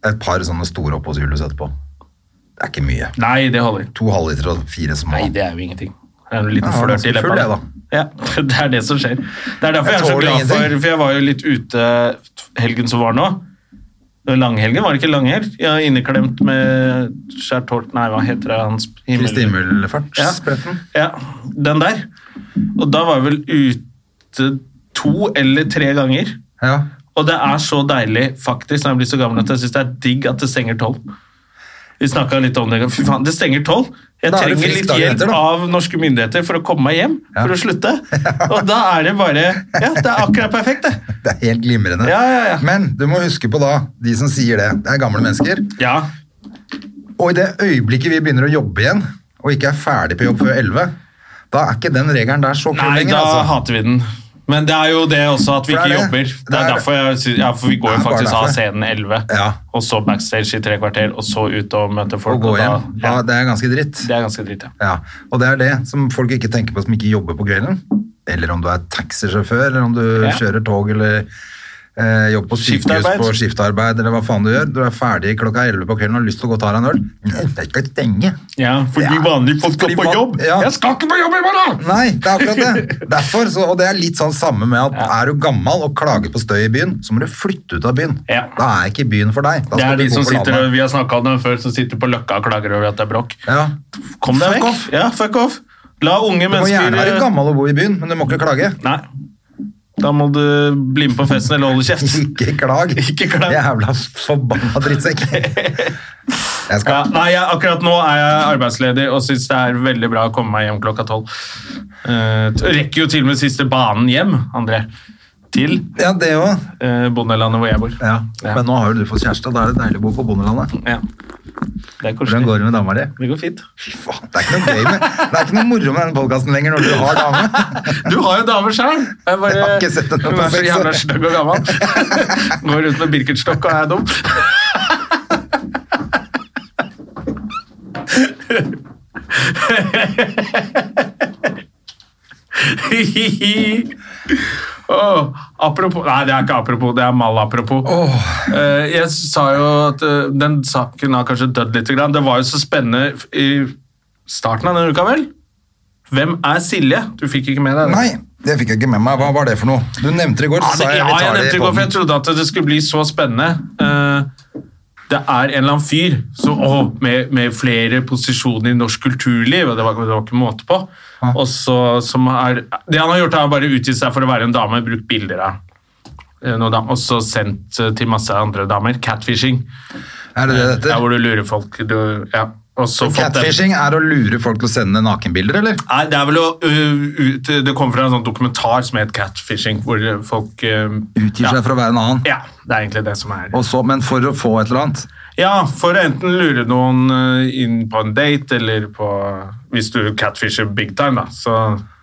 Speaker 1: et par sånne store opp hos Julius etterpå. Det er ikke mye.
Speaker 2: Nei, det holder.
Speaker 1: To halvliter og fire små.
Speaker 2: Nei, det er jo ingenting. Det er en liten
Speaker 1: Ja, jeg var
Speaker 2: flørt i
Speaker 1: ganske full,
Speaker 2: leppa.
Speaker 1: jeg, da.
Speaker 2: Ja, det er det som skjer. Det er derfor jeg,
Speaker 1: Jeg
Speaker 2: er så
Speaker 1: tåler
Speaker 2: glad for
Speaker 1: ingenting.
Speaker 2: For jeg var jo litt ute helgen som var nå. Det var Langhelgen, var det ikke langhelg? Jeg er inneklemt med skjært hår Nei, hva heter det? Hans himmel-
Speaker 1: Kristi Himmelfartsspretten.
Speaker 2: Ja, den der. Og da var jeg vel ute to eller tre ganger.
Speaker 1: Ja.
Speaker 2: Og det er så deilig, faktisk, når jeg blir så gammel at jeg syns det er digg at det stenger tolv. Vi snakka litt om det. en gang. Fy faen, det stenger tolv! Jeg
Speaker 1: Da er du
Speaker 2: trenger
Speaker 1: frisk
Speaker 2: litt
Speaker 1: dagen
Speaker 2: hjelp
Speaker 1: etter, da.
Speaker 2: av norske myndigheter for å komme meg hjem,
Speaker 1: Ja.
Speaker 2: for å slutte. Og da er det bare Ja, det er akkurat perfekt, det.
Speaker 1: Det er helt glimrende.
Speaker 2: Ja, ja, ja.
Speaker 1: Men du må huske på da, de som sier det, det er gamle mennesker.
Speaker 2: Ja.
Speaker 1: Og i det øyeblikket vi begynner å jobbe igjen, og ikke er ferdig på jobb før 11, da er ikke den regelen der så kul
Speaker 2: Nei,
Speaker 1: lenger,
Speaker 2: da
Speaker 1: altså.
Speaker 2: hater vi den. Men det er jo det også at vi
Speaker 1: For det
Speaker 2: ikke
Speaker 1: er det.
Speaker 2: jobber.
Speaker 1: Det
Speaker 2: Det
Speaker 1: er
Speaker 2: er
Speaker 1: det.
Speaker 2: derfor jeg sy- Ja, for vi går
Speaker 1: Det
Speaker 2: jo
Speaker 1: er bare
Speaker 2: faktisk av
Speaker 1: derfor.
Speaker 2: scenen 11,
Speaker 1: Ja.
Speaker 2: og så backstage i tre kvarter, og så ut og møte
Speaker 1: Å
Speaker 2: folk.
Speaker 1: gå
Speaker 2: og da-
Speaker 1: hjem, da,
Speaker 2: Ja,
Speaker 1: det er ganske dritt.
Speaker 2: det er ganske dritt, ja.
Speaker 1: Ja, og det er det som folk ikke tenker på som ikke jobber på kvelden. eller om du er taxisjåfør, eller om du
Speaker 2: Ja.
Speaker 1: kjører tog, eller eh, jobber på sykehus
Speaker 2: Skiftarbeid.
Speaker 1: på skiftarbeid, eller hva faen du gjør. Du er ferdig klokka 11 på kvelden og har lyst til å gå og ta deg en øl. Nei, Det er ikke stenge.
Speaker 2: Ja, fordi
Speaker 1: Ja.
Speaker 2: vanlige folk
Speaker 1: Fordi
Speaker 2: skal på
Speaker 1: van-
Speaker 2: jobb.
Speaker 1: ja.
Speaker 2: Jeg skal ikke på jobb i morgen!
Speaker 1: Nei, det er akkurat det. Derfor, så, og det er litt sånn samme med at er du gammel og klager på støy i byen, så må du flytte ut av byen.
Speaker 2: Ja.
Speaker 1: Da er ikke byen for deg. Da
Speaker 2: Det
Speaker 1: skal
Speaker 2: er
Speaker 1: du
Speaker 2: de
Speaker 1: bo
Speaker 2: som
Speaker 1: på
Speaker 2: sitter,
Speaker 1: landet.
Speaker 2: og- vi har snakket om dem før, som sitter på Løkka og klager over at det er bråk.
Speaker 1: ja.
Speaker 2: Kom deg
Speaker 1: Fuck
Speaker 2: vekk.
Speaker 1: off.
Speaker 2: Ja, fuck off. La unge
Speaker 1: Du må gjerne være
Speaker 2: mennesker eh,
Speaker 1: gammel og bo i byen, men du må ikke klage.
Speaker 2: Nei. Da må du bli med på festen eller holde kjeft.
Speaker 1: Ikke klag.
Speaker 2: Ikke klag.
Speaker 1: Jævla forbanna drittsekk. Jeg
Speaker 2: Ja,
Speaker 1: skal
Speaker 2: nei, jeg, akkurat nå er jeg arbeidsledig og syns det er veldig bra å komme meg hjem klokka tolv. Eh, rekker jo til og med siste banen hjem, André. Til
Speaker 1: Ja, det òg.
Speaker 2: eh, bondelandet hvor jeg bor.
Speaker 1: Ja.
Speaker 2: Ja.
Speaker 1: Men nå har jo du fått kjæreste, og da er det deilig å bo på bondelandet.
Speaker 2: Ja. Det er
Speaker 1: Hvordan
Speaker 2: koselig.
Speaker 1: går det med dama di?
Speaker 2: Det går fint.
Speaker 1: Fy faen, det er ikke noe gøy med Det er ikke noe moro med denne podkasten lenger når du har dame.
Speaker 2: Du har jo dame sjøl! Jeg, bare-
Speaker 1: Jeg har ikke sett henne på
Speaker 2: Hun er så
Speaker 1: seks år.
Speaker 2: jævla stygg og gammel. Går rundt med Birkenstock og er dum. Åh, apropos Nei, det er ikke apropos, det er malapropos. Eh, jeg sa jo at eh, den saken har kanskje dødd litt. Grann. Det var jo så spennende f- i starten av denne uka, vel? Hvem er Silje? Du fikk ikke med deg det?
Speaker 1: Nei, det fikk jeg ikke med meg. Hva var det for noe? Du nevnte det i går.
Speaker 2: Ja,
Speaker 1: så
Speaker 2: det,
Speaker 1: sa
Speaker 2: ja,
Speaker 1: vi tar det i
Speaker 2: jeg nevnte det i går, for
Speaker 1: podden.
Speaker 2: jeg trodde at det skulle bli så spennende. Eh, det er en eller annen fyr som, å, med, med flere posisjoner i norsk kulturliv, og det var, det var ikke måte på. Og så, som er, det han har gjort, er bare utgitt seg for å være en dame, brukt bilder av eh, noen damer, og så sendt eh, til masse andre damer. Catfishing.
Speaker 1: Er det det det
Speaker 2: Der
Speaker 1: heter?
Speaker 2: hvor du lurer folk. Du, ja. og så fått dem-
Speaker 1: Catfishing er å lure folk til å sende nakenbilder, eller?
Speaker 2: Nei, det er vel å øh, ut, Det kommer fra en sånn dokumentar som het Catfishing, hvor folk øh,
Speaker 1: Utgir
Speaker 2: ja.
Speaker 1: seg for å være en annen.
Speaker 2: Ja, det er egentlig det som er
Speaker 1: Og så, men for å få et eller annet.
Speaker 2: Ja, for å enten lure noen øh, inn på en date, eller på Hvis du catfisher big time, da, så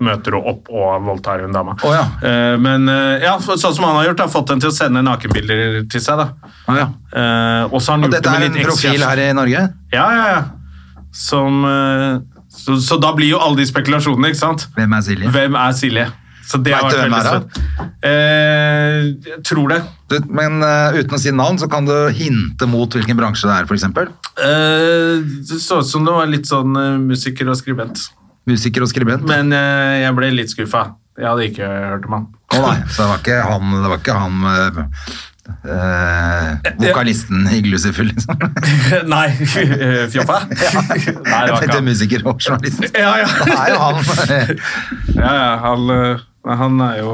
Speaker 2: møter du opp og voldtar en dame.
Speaker 1: Å, ja.
Speaker 2: Eh, Men øh, ja, for- sånn som han har gjort, har fått den til å sende nakenbilder til seg, da.
Speaker 1: Ah, ja.
Speaker 2: Eh, Og så har han
Speaker 1: Og
Speaker 2: gjort
Speaker 1: dette
Speaker 2: det
Speaker 1: er
Speaker 2: med
Speaker 1: en
Speaker 2: litt
Speaker 1: profil
Speaker 2: ekskjæreste.
Speaker 1: her i Norge?
Speaker 2: Ja, ja, ja. Som øh, så, så da blir jo alle de spekulasjonene, ikke sant?
Speaker 1: Hvem er Silje?
Speaker 2: Hvem er Silje? Så det
Speaker 1: Vet
Speaker 2: har
Speaker 1: du
Speaker 2: vært
Speaker 1: hvem
Speaker 2: veldig
Speaker 1: det er,
Speaker 2: spennende. Eh, jeg tror det.
Speaker 1: Du, men eh, uten å si navn, så kan du hinte mot hvilken bransje det er, f.eks.
Speaker 2: Eh, det så ut som det var litt sånn eh, musiker og skribent.
Speaker 1: Musiker og skribent.
Speaker 2: Men eh, jeg ble litt skuffa. Jeg hadde ikke hørt om han.
Speaker 1: Å nei, så det var ikke han, det var ikke han eh, eh, vokalisten i Glucifer, liksom.
Speaker 2: Nei, eh, fjoffa? Nei, det
Speaker 1: Jeg
Speaker 2: var ikke
Speaker 1: tenkte
Speaker 2: han.
Speaker 1: musiker og journalist.
Speaker 2: Ja, ja.
Speaker 1: Det er jo han.
Speaker 2: Ja, ja, han, eh, han er jo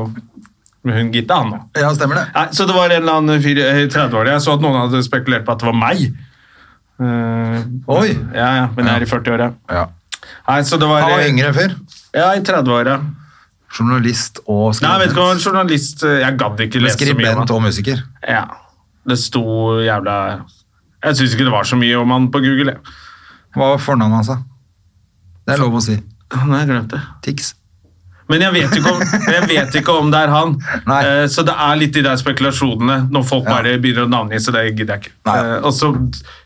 Speaker 2: hun Gitte, han nå.
Speaker 1: Ja, stemmer det.
Speaker 2: Nei, så det var en eller annen fyr i 30-årene. Jeg så at noen hadde spekulert på at det var meg. Eh,
Speaker 1: Oi.
Speaker 2: Ja, ja, men jeg er i 40-åra.
Speaker 1: Ja.
Speaker 2: Nei, så det var eh,
Speaker 1: Han var yngre før.
Speaker 2: Ja, i 30-åra.
Speaker 1: Journalist og
Speaker 2: Nei, jeg vet ikke hva en
Speaker 1: skribent.
Speaker 2: journalist eh, Jeg gadd ikke lese så mye om
Speaker 1: Skribent
Speaker 2: han.
Speaker 1: og musiker.
Speaker 2: Ja. Det sto jævla Jeg syns ikke det var så mye om han på Google. jeg.
Speaker 1: Hva var fornavnet hans, da? Det er lov å si.
Speaker 2: Nei, jeg glemte det.
Speaker 1: Tix.
Speaker 2: Men jeg vet ikke om, men jeg vet ikke om det er han.
Speaker 1: Nei.
Speaker 2: Eh, så det er litt de der spekulasjonene når folk
Speaker 1: Ja.
Speaker 2: bare begynner å navngi, så det gidder jeg ikke.
Speaker 1: Nei.
Speaker 2: Eh, og så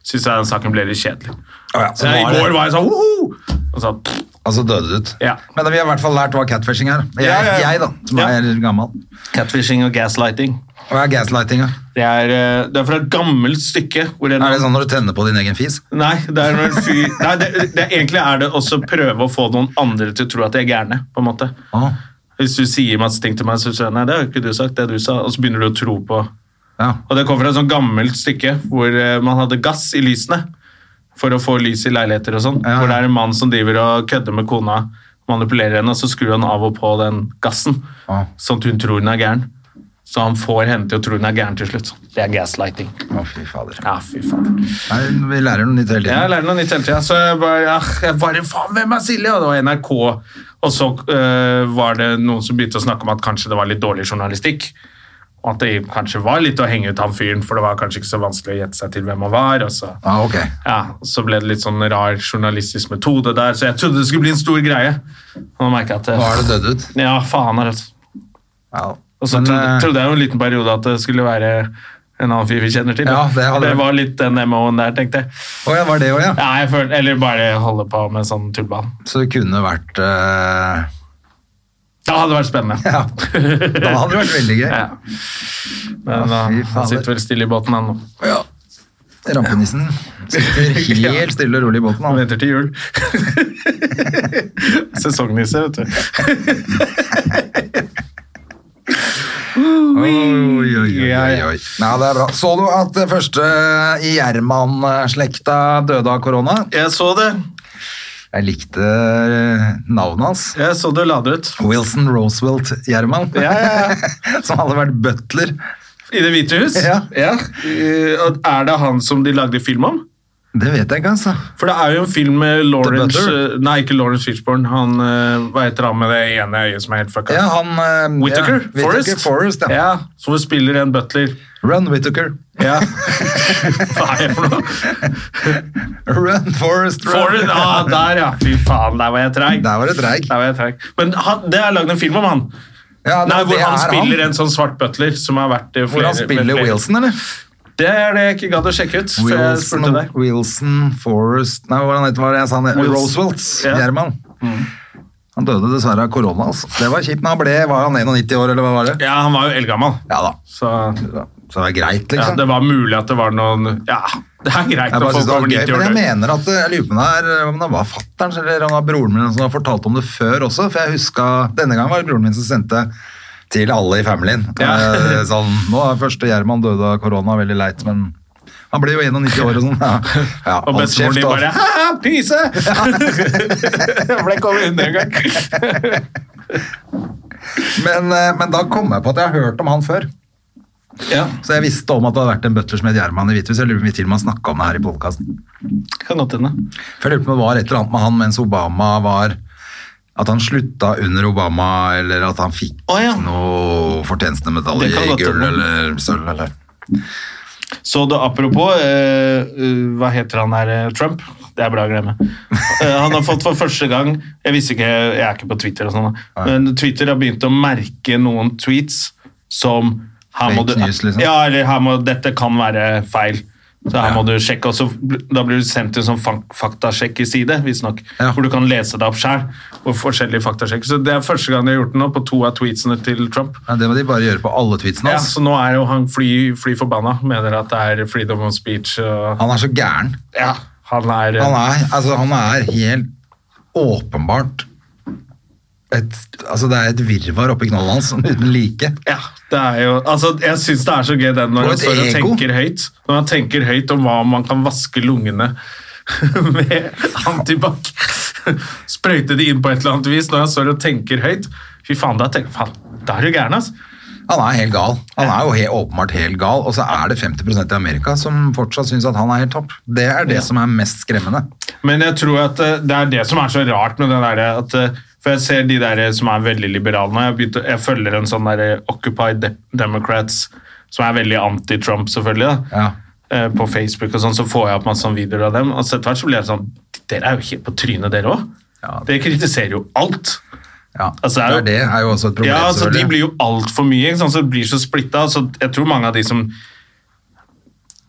Speaker 2: syns jeg den saken ble litt kjedelig.
Speaker 1: Å ja, så
Speaker 2: Så
Speaker 1: nå
Speaker 2: jeg, I
Speaker 1: er
Speaker 2: går
Speaker 1: det-
Speaker 2: var jeg sånn «Woho!» Og så pff,
Speaker 1: Altså døde det ut.
Speaker 2: Ja.
Speaker 1: Men vi har i hvert fall lært hva catfishing er. Jeg,
Speaker 2: Ja, ja, ja.
Speaker 1: jeg da, som
Speaker 2: Ja.
Speaker 1: er gammel.
Speaker 2: Catfishing og gaslighting.
Speaker 1: Og jeg er gaslighting, ja.
Speaker 2: Det er, eh, det er fra et gammelt stykke. Hvor en-
Speaker 1: Er det sånn når du tenner på din egen fis?
Speaker 2: Nei, det er når en fyr Nei, det, det, egentlig er det også å prøve å få noen andre til å tro at de er gærne. på en måte.
Speaker 1: Å,
Speaker 2: Hvis du sier masse ting til meg, så sier jeg nei, det har jo ikke du sagt, det du sa, og så begynner du å tro på
Speaker 1: ja.
Speaker 2: Og det kommer fra et sånt gammelt stykke hvor eh, man hadde gass i lysene for å få lys i leiligheter og sånn.
Speaker 1: Ja.
Speaker 2: Hvor det er en mann som driver og kødder med kona, manipulerer henne, og så skrur han av og på den gassen,
Speaker 1: Ja.
Speaker 2: sånn at hun tror hun er gæren. Så han får henne til å tro hun er gæren til slutt. Det er gaslighting.
Speaker 1: Å, fy fader.
Speaker 2: Ja, fy faen.
Speaker 1: Nei, vi lærer noe nytt hele
Speaker 2: Ja, Jeg
Speaker 1: tiden.
Speaker 2: lærer noe nytt hele tida. Så jeg bare, ah, jeg bare Faen, hvem er Silje? Og det var NRK. Og så eh, var det noen som begynte å snakke om at kanskje det var litt dårlig journalistikk. Og at det kanskje var litt å henge ut han fyren, for det var kanskje ikke så vanskelig å gjette seg til hvem han var. Og så,
Speaker 1: Ja, ok.
Speaker 2: ja, og så ble det litt sånn rar journalistisk metode der, så jeg trodde det skulle bli en stor greie. Og nå merker jeg
Speaker 1: Nå
Speaker 2: at det,
Speaker 1: er det dødd ut.
Speaker 2: Ja, faen altså.
Speaker 1: Ja.
Speaker 2: Og så
Speaker 1: Men,
Speaker 2: trodde,
Speaker 1: eh,
Speaker 2: trodde jeg jo en liten periode at det skulle være en annen fyr vi kjenner til.
Speaker 1: Ja, det hadde vært-
Speaker 2: var litt den MO-en der, tenkte jeg.
Speaker 1: Å ja, var det òg, ja.
Speaker 2: Ja, jeg følte, eller bare holde på med sånn tullball.
Speaker 1: Så det kunne vært eh,
Speaker 2: Det hadde vært spennende.
Speaker 1: Ja. Da hadde det vært veldig gøy.
Speaker 2: Ja. Men
Speaker 1: Ja,
Speaker 2: uh,
Speaker 1: fy
Speaker 2: han
Speaker 1: fader.
Speaker 2: sitter vel stille i båten ennå.
Speaker 1: Ja. Rampenissen sitter helt stille og rolig i båten.
Speaker 2: Han
Speaker 1: Han.
Speaker 2: venter til jul. Sesongnisse, vet du.
Speaker 1: Oi, oi, oi, oi, oi. Nei, det er bra. Så du at det første i Gjerman-slekta døde av korona?
Speaker 2: Jeg så det.
Speaker 1: Jeg likte eh, navnet hans.
Speaker 2: Jeg så det lade ut.
Speaker 1: Wilson Roosevelt Gjerman.
Speaker 2: Ja, ja,
Speaker 1: Som hadde vært butler.
Speaker 2: I Det hvite hus?
Speaker 1: Ja.
Speaker 2: Eh, og Er det han som de lagde film om?
Speaker 1: Det vet jeg ikke, altså.
Speaker 2: For det er jo en film med Lawrence
Speaker 1: Butler?
Speaker 2: eh, Nei, ikke Lawrence Fishburne. Han, eh, Hva heter han med det ene øyet som er helt fucka?
Speaker 1: Ja, han eh,
Speaker 2: Whittaker?
Speaker 1: Ja, Whittaker Forrest, ja.
Speaker 2: ja. Som spiller en butler.
Speaker 1: Run, Whittaker.
Speaker 2: Ja. Hva er det for noe?
Speaker 1: Run, Forrest, run.
Speaker 2: Får du ah, Der, ja. Fy faen, der var jeg treig.
Speaker 1: Der var det dreig.
Speaker 2: Der var jeg treig. Men han, det er lagd en film om han.
Speaker 1: Ja, det-
Speaker 2: Nei, hvor
Speaker 1: det
Speaker 2: han
Speaker 1: er
Speaker 2: spiller en sånn svart butler som har vært i flere
Speaker 1: Hvor han
Speaker 2: med
Speaker 1: spiller
Speaker 2: flere-
Speaker 1: Wilson, eller?
Speaker 2: Det er det jeg ikke gadd å sjekke ut. før jeg
Speaker 1: Wilson,
Speaker 2: spurte deg.
Speaker 1: Wilson Forrest Nei, hva var det han het? Hva var det jeg sa? han het?
Speaker 2: Wilson.
Speaker 1: Roosevelt
Speaker 2: Ja. Mm.
Speaker 1: Gjerman. Han døde dessverre av korona, altså. Det var kjipt. Men han ble, var han 91 år, eller hva var det?
Speaker 2: Ja, han var jo eldgammel,
Speaker 1: Ja da.
Speaker 2: så
Speaker 1: Så det var greit,
Speaker 2: ja,
Speaker 1: liksom.
Speaker 2: det var mulig at det var noen Ja, det er greit
Speaker 1: jeg
Speaker 2: når
Speaker 1: bare synes det
Speaker 2: folk over
Speaker 1: var gøy,
Speaker 2: 90 år
Speaker 1: men jeg
Speaker 2: dør.
Speaker 1: mener at eh, jeg lurer på om det er- om det var fatteren eller om det var broren min som har fortalt om det før også, for jeg huska Denne gangen var det broren min som sendte til alle i familien.
Speaker 2: Ja.
Speaker 1: Eh, Sånn, nå er første Gjerman døde av korona, veldig leit, men han blir jo 91 år og sånn. Ja, ja,
Speaker 2: Og
Speaker 1: hold
Speaker 2: bestemoren
Speaker 1: kjeft,
Speaker 2: din
Speaker 1: da.
Speaker 2: bare «Haha, Pyse! Jeg ble kommet inn en gang.
Speaker 1: Men, eh, men da kom jeg på at jeg har hørt om han før.
Speaker 2: Ja,
Speaker 1: Så jeg visste om at det hadde vært en butler som het Gjerman i Hvithus. Jeg lurer på om vi til og med har snakket om det her i podcasten.
Speaker 2: kan godt hende.
Speaker 1: For jeg lurer på om det var et eller annet med han mens Obama var At han slutta under Obama, eller at han fikk
Speaker 2: Å, ja.
Speaker 1: noe fortjenestemedalje
Speaker 2: Det kan
Speaker 1: i
Speaker 2: godt
Speaker 1: gull
Speaker 2: hende.
Speaker 1: eller sølv eller
Speaker 2: Så det, apropos eh, eh, Hva heter han her? eh, Trump? Det er bra å glemme. Eh, han har fått for første gang Jeg visste ikke, jeg er ikke på Twitter og sånn, da. men Twitter har begynt å merke noen tweets som her må
Speaker 1: Fake
Speaker 2: du,
Speaker 1: news, liksom.
Speaker 2: Ja, eller her må, dette kan være feil. Så her må du sjekke, og så bl- Da blir du sendt en sånn fak- faktasjekk i side, visstnok,
Speaker 1: Ja.
Speaker 2: hvor du kan lese deg opp sjøl. forskjellige faktasjekker. Så Det er første gang de har gjort det nå, på to av tweetsene til Trump.
Speaker 1: ja, Det må de bare gjøre på alle tweetsene
Speaker 2: Ja,
Speaker 1: hans.
Speaker 2: så nå er jo han fly, fly forbanna, mener at det er freedom of speech og
Speaker 1: Han er så gæren.
Speaker 2: Ja, han er,
Speaker 1: Han er, altså, han er helt åpenbart et, altså det er et virvar oppi knollen hans uten like.
Speaker 2: Ja, det er jo Altså, jeg syns det er så gøy
Speaker 1: Og
Speaker 2: den når han
Speaker 1: et
Speaker 2: står og
Speaker 1: ego.
Speaker 2: tenker høyt. Når han tenker høyt om hva man kan vaske lungene med antibac. Sprøyte det inn på et eller annet vis når han står og tenker høyt. Fy faen, da tenker faen, da er du gæren, altså.
Speaker 1: Han er helt gal. Han er jo helt, åpenbart helt gal, og så er det 50 i Amerika som fortsatt syns at han er helt topp. Det er det som er mest skremmende.
Speaker 2: Men jeg tror at eh, det er det som er så rart med den derre at eh, For jeg ser de der eh, som er veldig liberale nå. Jeg, begynte, jeg følger en sånn derre Occupy De Democrats som er veldig anti-Trump, selvfølgelig. da.
Speaker 1: Ja.
Speaker 2: Eh, På Facebook og sånn, så får jeg opp masse sånne videoer av dem. Og så etter hvert så blir jeg sånn Dere er jo helt på trynet, dere òg.
Speaker 1: Ja.
Speaker 2: Dere kritiserer jo alt.
Speaker 1: Ja.
Speaker 2: Altså, det er jo-
Speaker 1: det er jo også et problem,
Speaker 2: Ja, altså, de
Speaker 1: selvfølgelig.
Speaker 2: blir jo altfor mye, ikke sant? så det blir så splitta. Så jeg tror mange av de som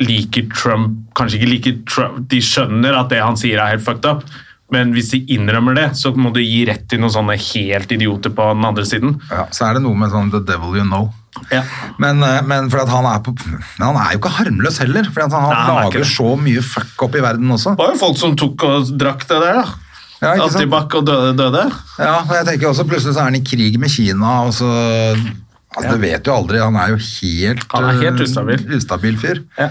Speaker 2: liker Trump, kanskje ikke liker Trump, de skjønner at det han sier er helt fucked up. Men hvis de innrømmer det, så må du gi rett til noen sånne helt idioter på den andre siden.
Speaker 1: ja, så er det noe med sånn the devil you know.
Speaker 2: Ja.
Speaker 1: Men, eh, men, for at han, er på, men han er jo ikke harmløs heller, for at han,
Speaker 2: Nei, han er ikke
Speaker 1: lager
Speaker 2: det.
Speaker 1: så mye fuck up i verden også.
Speaker 2: Det var jo folk som tok og drakk det der, da.
Speaker 1: Ja, ikke sant?
Speaker 2: Antibac og døde, døde.
Speaker 1: Ja, og jeg tenker også Plutselig så er han i krig med Kina, og så altså, Det vet du aldri. Han er jo helt,
Speaker 2: Han er helt
Speaker 1: eh,
Speaker 2: ustabil.
Speaker 1: ustabil fyr.
Speaker 2: Ja.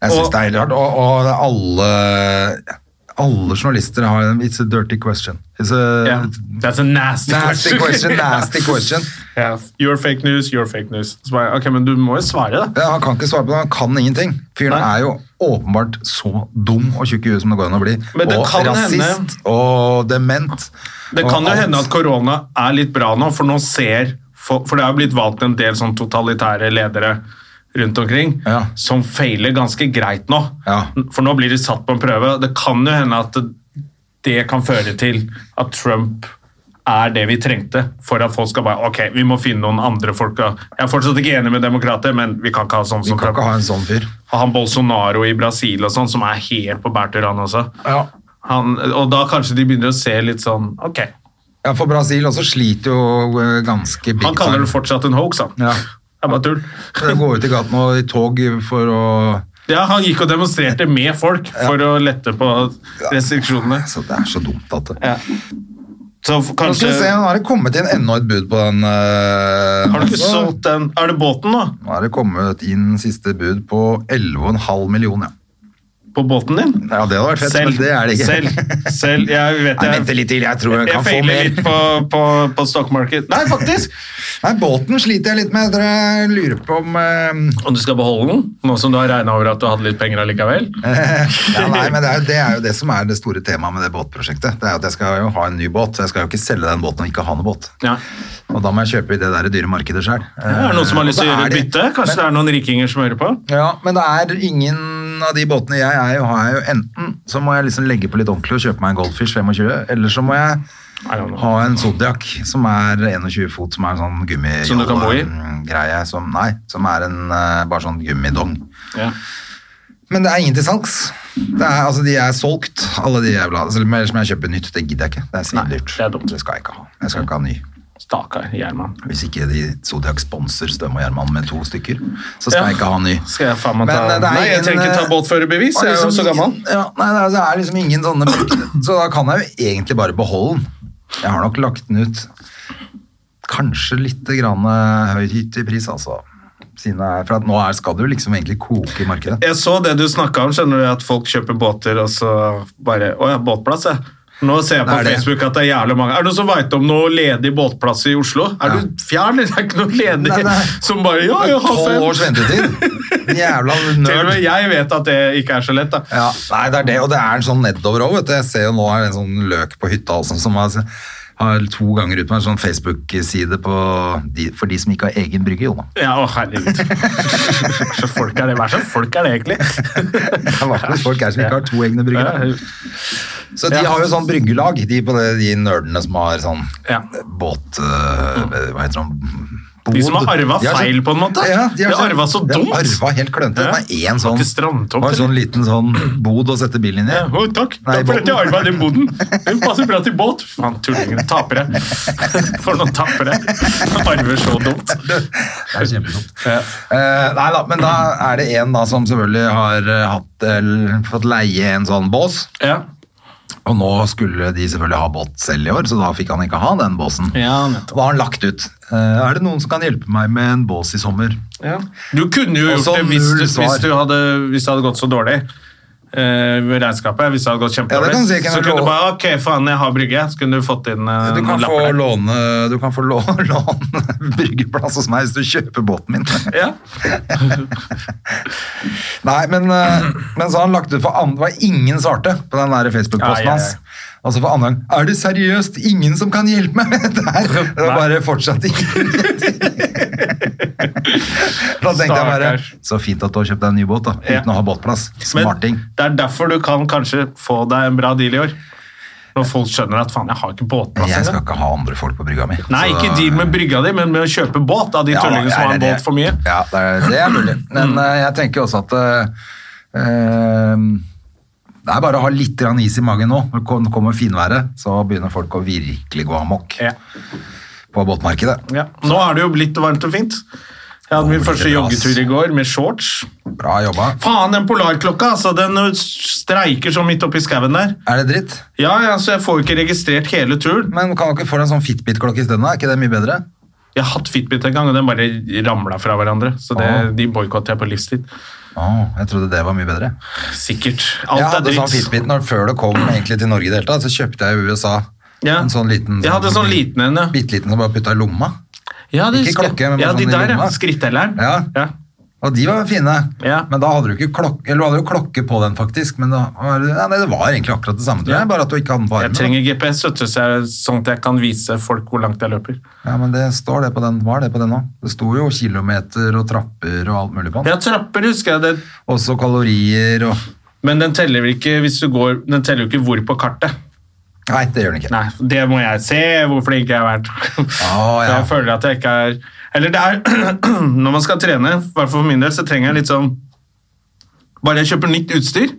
Speaker 1: Jeg
Speaker 2: Og-
Speaker 1: syns det er helt rart. Og, og det er alle, alle journalister har en It's a dirty question. It's a
Speaker 2: Ja. That's a nasty,
Speaker 1: nasty question, nasty question.
Speaker 2: ja. You're fake news, you're fake news. Så bare, ok, Men du må jo svare, da.
Speaker 1: Ja, han kan ikke svare på det, han kan ingenting. Fyren
Speaker 2: Nei.
Speaker 1: er jo åpenbart så dum og tjukk i huet som det går an å bli.
Speaker 2: Men det
Speaker 1: Og
Speaker 2: kan
Speaker 1: rasist
Speaker 2: hende-
Speaker 1: og dement.
Speaker 2: Det
Speaker 1: og
Speaker 2: kan jo
Speaker 1: alt.
Speaker 2: hende at korona er litt bra nå, for nå ser For, for det har jo blitt valgt en del sånn totalitære ledere rundt omkring
Speaker 1: Ja.
Speaker 2: som feiler ganske greit nå.
Speaker 1: Ja.
Speaker 2: For nå blir de satt på en prøve. Det kan jo hende at det, det kan føre til at Trump er det vi trengte for at folk skal bare Ok, vi må finne noen andre folk. å- Jeg er fortsatt ikke enig med demokrater, men vi kan ikke ha sånn
Speaker 1: Vi
Speaker 2: som
Speaker 1: kan
Speaker 2: Trump.
Speaker 1: ikke ha en sånn fyr.
Speaker 2: Han Bolsonaro i Brasil og sånn, som er helt på bærtur, han også. Han, og da kanskje de begynner å se litt sånn Ok,
Speaker 1: Ja, for Brasil også sliter jo eh, ganske big
Speaker 2: Han kaller
Speaker 1: time.
Speaker 2: det fortsatt en hoax, han.
Speaker 1: Ja.
Speaker 2: Det er bare tull.
Speaker 1: De går ut i gaten og i tog for å
Speaker 2: Ja, han gikk og demonstrerte med folk for å lette på restriksjonene.
Speaker 1: Så det er så dumt at det
Speaker 2: Ja. Så f-
Speaker 1: Nå skal
Speaker 2: kanskje
Speaker 1: vi se, Nå har det kommet inn enda et bud på den. eh,
Speaker 2: Har du ikke
Speaker 1: altså.
Speaker 2: solgt den? Er det båten, da?
Speaker 1: Nå er det kommet inn siste bud på 11,5 millioner.
Speaker 2: På båten din?
Speaker 1: Ja, det hadde vært fett, men det er det ikke.
Speaker 2: Selv. selv jeg vet
Speaker 1: Nei,
Speaker 2: jeg,
Speaker 1: vent litt til, jeg tror jeg
Speaker 2: jeg
Speaker 1: kan få
Speaker 2: feiler
Speaker 1: mer.
Speaker 2: litt på, på, på stock market. Nei, faktisk!
Speaker 1: Nei, båten sliter jeg litt med. Dere lurer på om eh,
Speaker 2: Om du skal beholde den, nå som du har regna over at du hadde litt penger allikevel?
Speaker 1: ja, nei, men det er, jo- det er jo det som er det store temaet med det båtprosjektet. Det er jo at jeg skal jo ha en ny båt. så Jeg skal jo ikke selge den båten og ikke ha noen båt.
Speaker 2: Ja.
Speaker 1: Og da må jeg kjøpe i det der dyre markedet Eh, sjøl.
Speaker 2: Er det noen som har lyst til å gjøre et bytte? Kanskje det er noen rikinger som hører på?
Speaker 1: Ja, men det er ingen av de båtene jeg er i, har jeg jo enten så må jeg liksom legge på litt ordentlig og kjøpe meg en Goldfish 25, eller så må jeg
Speaker 2: I don't know.
Speaker 1: ha en Zodiac som er 21 fot, som er en sånn gummi...
Speaker 2: Som du kan bo i?
Speaker 1: Greie, som, nei, som er en eh, bare sånn gummidong.
Speaker 2: Ja.
Speaker 1: Men det er ingen til salgs. Det er, altså, de er solgt, alle de jævla. altså, Selv om jeg, som jeg kjøper nytt, det gidder jeg ikke. Det er svindyrt.
Speaker 2: det er dumt.
Speaker 1: Det skal jeg ikke ha. Jeg skal ikke ha ny.
Speaker 2: Stakkar Gjerman.
Speaker 1: Hvis ikke de Zodiac sponser Støm og Gjermann med to stykker, så skal
Speaker 2: Ja.
Speaker 1: jeg ikke ha ny.
Speaker 2: Skal jeg faen meg
Speaker 1: Men,
Speaker 2: ta
Speaker 1: eh, det er
Speaker 2: Nei, jeg
Speaker 1: ingen,
Speaker 2: trenger ikke
Speaker 1: eh,
Speaker 2: ta båtførerbevis,
Speaker 1: og
Speaker 2: jeg er jo
Speaker 1: liksom
Speaker 2: så gammel.
Speaker 1: ingen- Ja, nei, det er- det er liksom ingen sånne brukte. Så da kan jeg jo egentlig bare beholde den. Jeg har nok lagt den ut kanskje litt grann eh, høyt i pris, altså. Siden jeg, for at nå er, skal det jo liksom egentlig koke i markedet.
Speaker 2: Jeg så det du snakka om, skjønner du, at folk kjøper båter, og så bare Å ja, båtplass, ja. Nå ser jeg på
Speaker 1: Det er det.
Speaker 2: Facebook at det er jævlig mange. Er det noen som veit om noe ledig båtplass i Oslo? Er
Speaker 1: Ja.
Speaker 2: du fjern, eller? Det er ikke noe ledig
Speaker 1: Nei, nei.
Speaker 2: som bare Ja, jeg har
Speaker 1: Tolv
Speaker 2: fem.
Speaker 1: års ventetid! Jævla
Speaker 2: Til og med
Speaker 1: nerd.
Speaker 2: jeg vet at det ikke er så lett, da.
Speaker 1: Ja, nei, det er det, og det er en sånn nedover òg, vet du. Jeg ser jo nå er det en sånn løk på hytta altså, som har, har to ganger ut med en sånn Facebook-side på de, for de som ikke har egen brygge, jo da.
Speaker 2: Ja, å herregud. Hva slags folk er det? Hva slags folk er det egentlig?
Speaker 1: Det er vanskelig at folk er som ikke har to egne brygger. da.
Speaker 2: Ja,
Speaker 1: Så de
Speaker 2: Ja.
Speaker 1: har jo sånn bryggelag, de, på det, de nerdene som har sånn
Speaker 2: Ja. Mm.
Speaker 1: båt... øh, hva heter det? Bod.
Speaker 2: De som har arva
Speaker 1: De
Speaker 2: feil, på en måte.
Speaker 1: Ja,
Speaker 2: De har arva så dumt.
Speaker 1: De har arva helt klønete.
Speaker 2: Ja.
Speaker 1: Det er en sånn,
Speaker 2: Ikke strandtomt,
Speaker 1: det var en sånn liten sånn bod å sette bilen inn i.
Speaker 2: Ja, å, takk.
Speaker 1: Nei,
Speaker 2: takk for at jeg
Speaker 1: båten.
Speaker 2: arva den boden. Den passer bra til båt. Faen, tullingen. Tapere. For noen tapere. Arver så dumt.
Speaker 1: Det er kjempedumt.
Speaker 2: Ja.
Speaker 1: Eh, nei da, men da er det en da som selvfølgelig har eh, hatt, eller fått leie en sånn bås.
Speaker 2: Ja.
Speaker 1: Og nå skulle de selvfølgelig ha båt selv i år, så da fikk han ikke ha den båsen.
Speaker 2: Ja, nettopp.
Speaker 1: Da har han lagt ut. Eh, er det noen som kan hjelpe meg med en bås i sommer?
Speaker 2: Du kunne jo
Speaker 1: Og så
Speaker 2: gjort det hvis,
Speaker 1: null
Speaker 2: du,
Speaker 1: svar.
Speaker 2: hvis, du hadde, hvis det hadde gått så dårlig. eh, med regnskapet, hvis det hadde gått
Speaker 1: Ja, det
Speaker 2: kjempedårlig,
Speaker 1: kan du si, kan
Speaker 2: så
Speaker 1: jeg love.
Speaker 2: kunne du bare Ok, faen, jeg har brygge. Så kunne du fått inn eh,
Speaker 1: Du kan få
Speaker 2: noen lapper der.
Speaker 1: låne, du kan få låne, låne bryggeplass hos meg hvis du kjøper båten min.
Speaker 2: Ja.
Speaker 1: Nei, men, eh, men så har han lagt ut for andre, det var ingen svarte på den der
Speaker 2: Ai,
Speaker 1: Facebook-posten
Speaker 2: ai, ai.
Speaker 1: hans. Og så for andre gang, er det seriøst ingen som kan hjelpe meg med dette her? Det var
Speaker 2: Nei.
Speaker 1: bare fortsatt ingenting. da tenkte jeg bare,
Speaker 2: Stakkars.
Speaker 1: så fint at du har kjøpt deg en ny båt da,
Speaker 2: Ja.
Speaker 1: uten å ha båtplass.
Speaker 2: Men
Speaker 1: Smarting.
Speaker 2: det er derfor du kan kanskje få deg en bra deal i år. Når folk skjønner at faen, jeg har ikke båtplass
Speaker 1: Jeg skal
Speaker 2: engang.
Speaker 1: ikke ha andre folk på brygga mi.
Speaker 2: Nei,
Speaker 1: Så- eh,
Speaker 2: ikke deal med brygga di, men med å kjøpe båt av de
Speaker 1: Ja,
Speaker 2: tullingene som
Speaker 1: er
Speaker 2: har en
Speaker 1: det
Speaker 2: båt for mye. Mm.
Speaker 1: Ja, det er, det er mulig. Men eh, jeg tenker også at eh, eh, det er bare å ha litt grann is i magen nå. Når det kom- kommer finværet, så begynner folk å virkelig gå amok
Speaker 2: Ja.
Speaker 1: på båtmarkedet.
Speaker 2: Ja. Nå er det jo blitt varmt og fint. Jeg hadde min
Speaker 1: blir
Speaker 2: første
Speaker 1: det bra, ass.
Speaker 2: joggetur i går med shorts.
Speaker 1: Bra jobba.
Speaker 2: Faen, den polarklokka! Altså, den uh, streiker så midt oppi skauen der.
Speaker 1: Er det dritt?
Speaker 2: Ja, ja, så Jeg får jo ikke registrert hele turen.
Speaker 1: Men kan dere få en sånn Fitbit-klokke isteden? da? Er ikke det mye bedre?
Speaker 2: Jeg har hatt Fitbit en gang, og den bare ramla fra hverandre. Så det,
Speaker 1: Åh.
Speaker 2: de boikotter jeg på livstid.
Speaker 1: Åh, jeg trodde det var mye bedre.
Speaker 2: Sikkert. Alt
Speaker 1: jeg
Speaker 2: er
Speaker 1: hadde
Speaker 2: dritt.
Speaker 1: sånn Fitbit når, før det kom egentlig til Norge i det hele tatt, så kjøpte jeg i USA.
Speaker 2: Ja.
Speaker 1: En sånn liten
Speaker 2: Jeg hadde sånn liten en, ja.
Speaker 1: Bitte liten som bare putta i lomma.
Speaker 2: Ja, det
Speaker 1: Ikke
Speaker 2: husker jeg.
Speaker 1: klokke, men bare
Speaker 2: ja, de
Speaker 1: sånn i
Speaker 2: der, ja.
Speaker 1: lomma.
Speaker 2: Skrittelleren.
Speaker 1: Ja. Og de var fine,
Speaker 2: Ja.
Speaker 1: men da hadde du ikke klokke, eller du hadde jo klokke på den faktisk, men da var, det- ja, nei, det var egentlig akkurat det samme, tror jeg,
Speaker 2: Ja.
Speaker 1: bare at du ikke hadde den på
Speaker 2: Jeg
Speaker 1: armen.
Speaker 2: trenger GPS, vet du, så jeg- sånn at jeg kan vise folk hvor langt jeg løper.
Speaker 1: da. Ja, men det står det på den, var det på den nå? Det sto jo kilometer og trapper og alt mulig på den.
Speaker 2: Ja, trapper husker jeg det.
Speaker 1: Også kalorier og...
Speaker 2: Men den teller vel ikke hvis du går Den teller jo ikke hvor på kartet.
Speaker 1: Nei, det gjør den ikke.
Speaker 2: Nei, det må jeg se hvor flink jeg har vært.
Speaker 1: Å, Ah, ja.
Speaker 2: Jeg føler at jeg ikke er Eller det er Når man skal trene, i hvert fall for min del, så trenger jeg litt sånn Bare jeg kjøper nytt utstyr og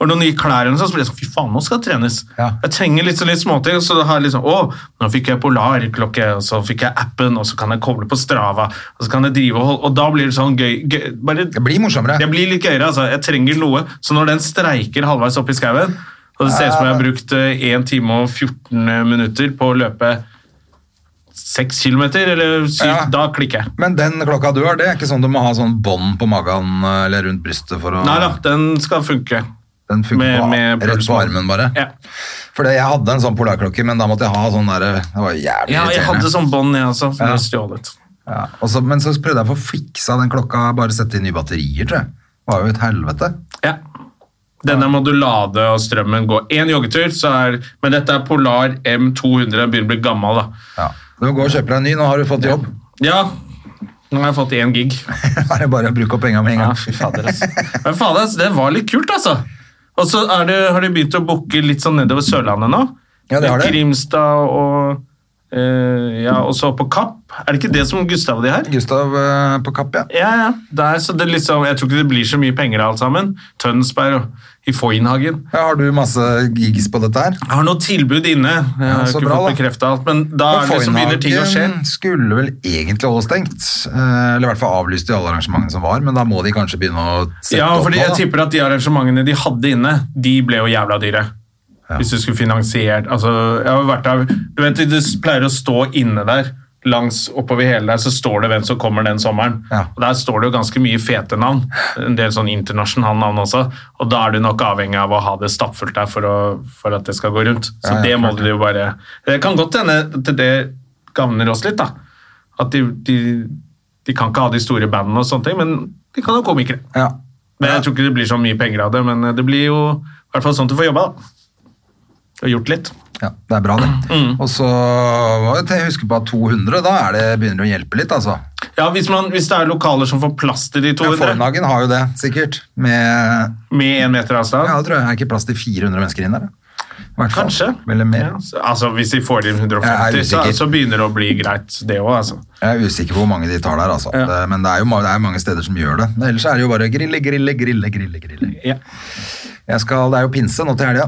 Speaker 2: og noen nye klær, eller noe sånt, så blir jeg sånn Fy faen, nå skal det trenes.
Speaker 1: Ja.
Speaker 2: Jeg trenger litt, sånn litt småting. Så det har jeg liksom, å, nå fikk jeg Polar-klokke, og så fikk jeg appen, og så kan jeg koble på Strava, og så kan jeg drive og holde Og da blir det sånn gøy, gøy bare,
Speaker 1: Det blir morsommere.
Speaker 2: det blir litt gøyere, altså. Jeg trenger noe. Så når den streiker halvveis opp i skauen, og det ser ut som jeg har brukt eh, 1 time og 14 minutter på å løpe 6 km, eller 7,
Speaker 1: Ja.
Speaker 2: da klikker jeg.
Speaker 1: Men den klokka du har, det er ikke sånn du må ha sånn bånd på magen eh, eller rundt brystet for å
Speaker 2: Nei da, den skal funke.
Speaker 1: Den funker
Speaker 2: Med-
Speaker 1: på,
Speaker 2: med
Speaker 1: rett på
Speaker 2: pulsmål.
Speaker 1: armen bare.
Speaker 2: Ja.
Speaker 1: For det- jeg hadde en sånn polarklokke, men da måtte jeg ha sånn derre Det var jævlig
Speaker 2: Ja, jeg hadde
Speaker 1: irriterende.
Speaker 2: sånn bånd, jeg også, som
Speaker 1: Ja.
Speaker 2: ble stjålet.
Speaker 1: Ja, og så- men så prøvde jeg å få fiksa den klokka, bare sette i nye batterier, tror jeg. Det var jo et helvete.
Speaker 2: Ja. Denne må du lade og strømmen gå. Én joggetur, så er Men dette er Polar M200, den begynner å bli gammel, da.
Speaker 1: Ja. Du går og kjøper deg en ny, nå har du fått jobb.
Speaker 2: Ja, nå har jeg fått én gig.
Speaker 1: Da er det bare å bruke opp penga med en
Speaker 2: Ja,
Speaker 1: gang.
Speaker 2: fy fader, altså. Men fader, altså, det var litt kult, altså. Og så er det, har de begynt å booke litt sånn nedover Sørlandet nå.
Speaker 1: Ja, det har de.
Speaker 2: Grimstad og eh, Ja, og så på Kapp. Er det ikke det som Gustav og de her?
Speaker 1: Gustav eh, på Kapp, ja.
Speaker 2: Ja, ja. Der, så det liksom, jeg tror ikke det blir så mye penger av alt sammen. Tønsberg og i Foynhagen.
Speaker 1: ja. Har du masse gigs på dette her?
Speaker 2: Jeg har noe tilbud inne. Jeg har
Speaker 1: så
Speaker 2: ikke
Speaker 1: bra,
Speaker 2: fått
Speaker 1: da.
Speaker 2: bekreftet alt, men da er det liksom begynner ting å skje.
Speaker 1: Fornhagen skulle vel egentlig holde stengt, eh, eller i hvert fall avlyst de alle arrangementene som var, men da må de kanskje begynne å sette
Speaker 2: Ja,
Speaker 1: opp
Speaker 2: fordi
Speaker 1: nå,
Speaker 2: jeg
Speaker 1: da.
Speaker 2: tipper at de arrangementene de hadde inne, de ble jo jævla dyre.
Speaker 1: Ja.
Speaker 2: Hvis du skulle finansiert altså, jeg har jo vært der, Du vet, det pleier å stå inne der, langs oppover hele der, så står det hvem som kommer den sommeren.
Speaker 1: Ja.
Speaker 2: Og Der står det jo ganske mye fete navn. En del sånn internasjonale navn også. Og da er du nok avhengig av å ha det stappfullt der for, å, for at det skal gå rundt. Så
Speaker 1: Ja, ja,
Speaker 2: det må
Speaker 1: klart.
Speaker 2: du jo bare Det kan godt hende at det gagner oss litt, da. At de, de, de kan ikke ha de store bandene og sånne ting, men de kan ha komikere.
Speaker 1: Ja.
Speaker 2: Men Jeg tror ikke det blir så mye penger av det, men eh, det blir jo i hvert fall sånn at du får jobba. da. Og gjort litt.
Speaker 1: ja, det er bra det.
Speaker 2: Mm.
Speaker 1: Og så må jeg huske på at 200, da er det, begynner det å hjelpe litt, altså.
Speaker 2: Ja, hvis, man, hvis det er lokaler som får plass til de
Speaker 1: Ja,
Speaker 2: 200,
Speaker 1: Fornhagen har jo det, sikkert. Med,
Speaker 2: med én meter avstand
Speaker 1: ja, det tror jeg er ikke plass til 400 mennesker inn der. da. I hvert fall.
Speaker 2: Kanskje.
Speaker 1: Eller mer.
Speaker 2: Ja, så- altså, hvis de får inn 150, så,
Speaker 1: Jeg er usikker.
Speaker 2: så begynner det å bli greit, det òg. Altså.
Speaker 1: Jeg er usikker på hvor mange de tar der, altså.
Speaker 2: Ja.
Speaker 1: Det, men det er jo ma- det er mange steder som gjør det. Ellers er det jo bare grille, grille, grille, grille. grille.
Speaker 2: Ja.
Speaker 1: Jeg skal, det er jo pinse nå til helga.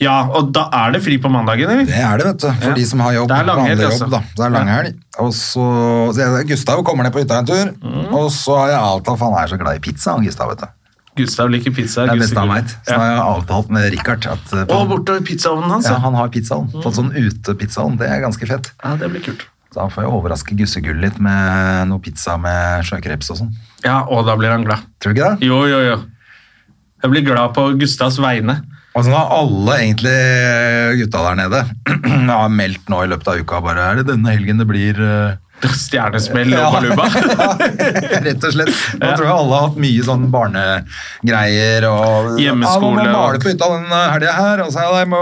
Speaker 2: ja, og da er det fri på mandagen, eller?
Speaker 1: Det er det, vet du. For
Speaker 2: Ja.
Speaker 1: de som har jobb.
Speaker 2: Det er langhelg,
Speaker 1: vanlig
Speaker 2: altså.
Speaker 1: jobb, da. Det er langhelg. Og så, så jeg- Gustav kommer ned på hytta en tur,
Speaker 2: Mm.
Speaker 1: og så har jeg avtalt For han er så glad i pizza, han Gustav, vet du.
Speaker 2: Gustav liker pizza.
Speaker 1: Det er det
Speaker 2: Gustav
Speaker 1: beste han
Speaker 2: liker-
Speaker 1: veit. Så har jeg avtalt med Richard at eh,
Speaker 2: Ja. Og bortover pizzaovnen hans,
Speaker 1: ja,
Speaker 2: ja.
Speaker 1: han har pizzaovn. Fått sånn utepizzaovn. Det er ganske fett.
Speaker 2: ja. Det blir kult.
Speaker 1: Så han får jo overraske gussegull litt med noe pizza med sjøkreps og sånn.
Speaker 2: Ja, og da blir han glad.
Speaker 1: Tror du ikke det?
Speaker 2: Jo, jo, jo. Jeg blir glad på Gustavs vegne.
Speaker 1: Og sånn har alle egentlig gutta der nede har meldt nå i løpet av uka bare Er det denne helgen det blir eh,
Speaker 2: Stjernesmell
Speaker 1: Ja.
Speaker 2: og baluba.
Speaker 1: Rett og slett. Nå tror jeg alle har hatt mye sånn barnegreier og
Speaker 2: Hjemmeskole
Speaker 1: Ja, nå må jeg male
Speaker 2: og-
Speaker 1: på hytta den helga her. Og så er det, jeg må,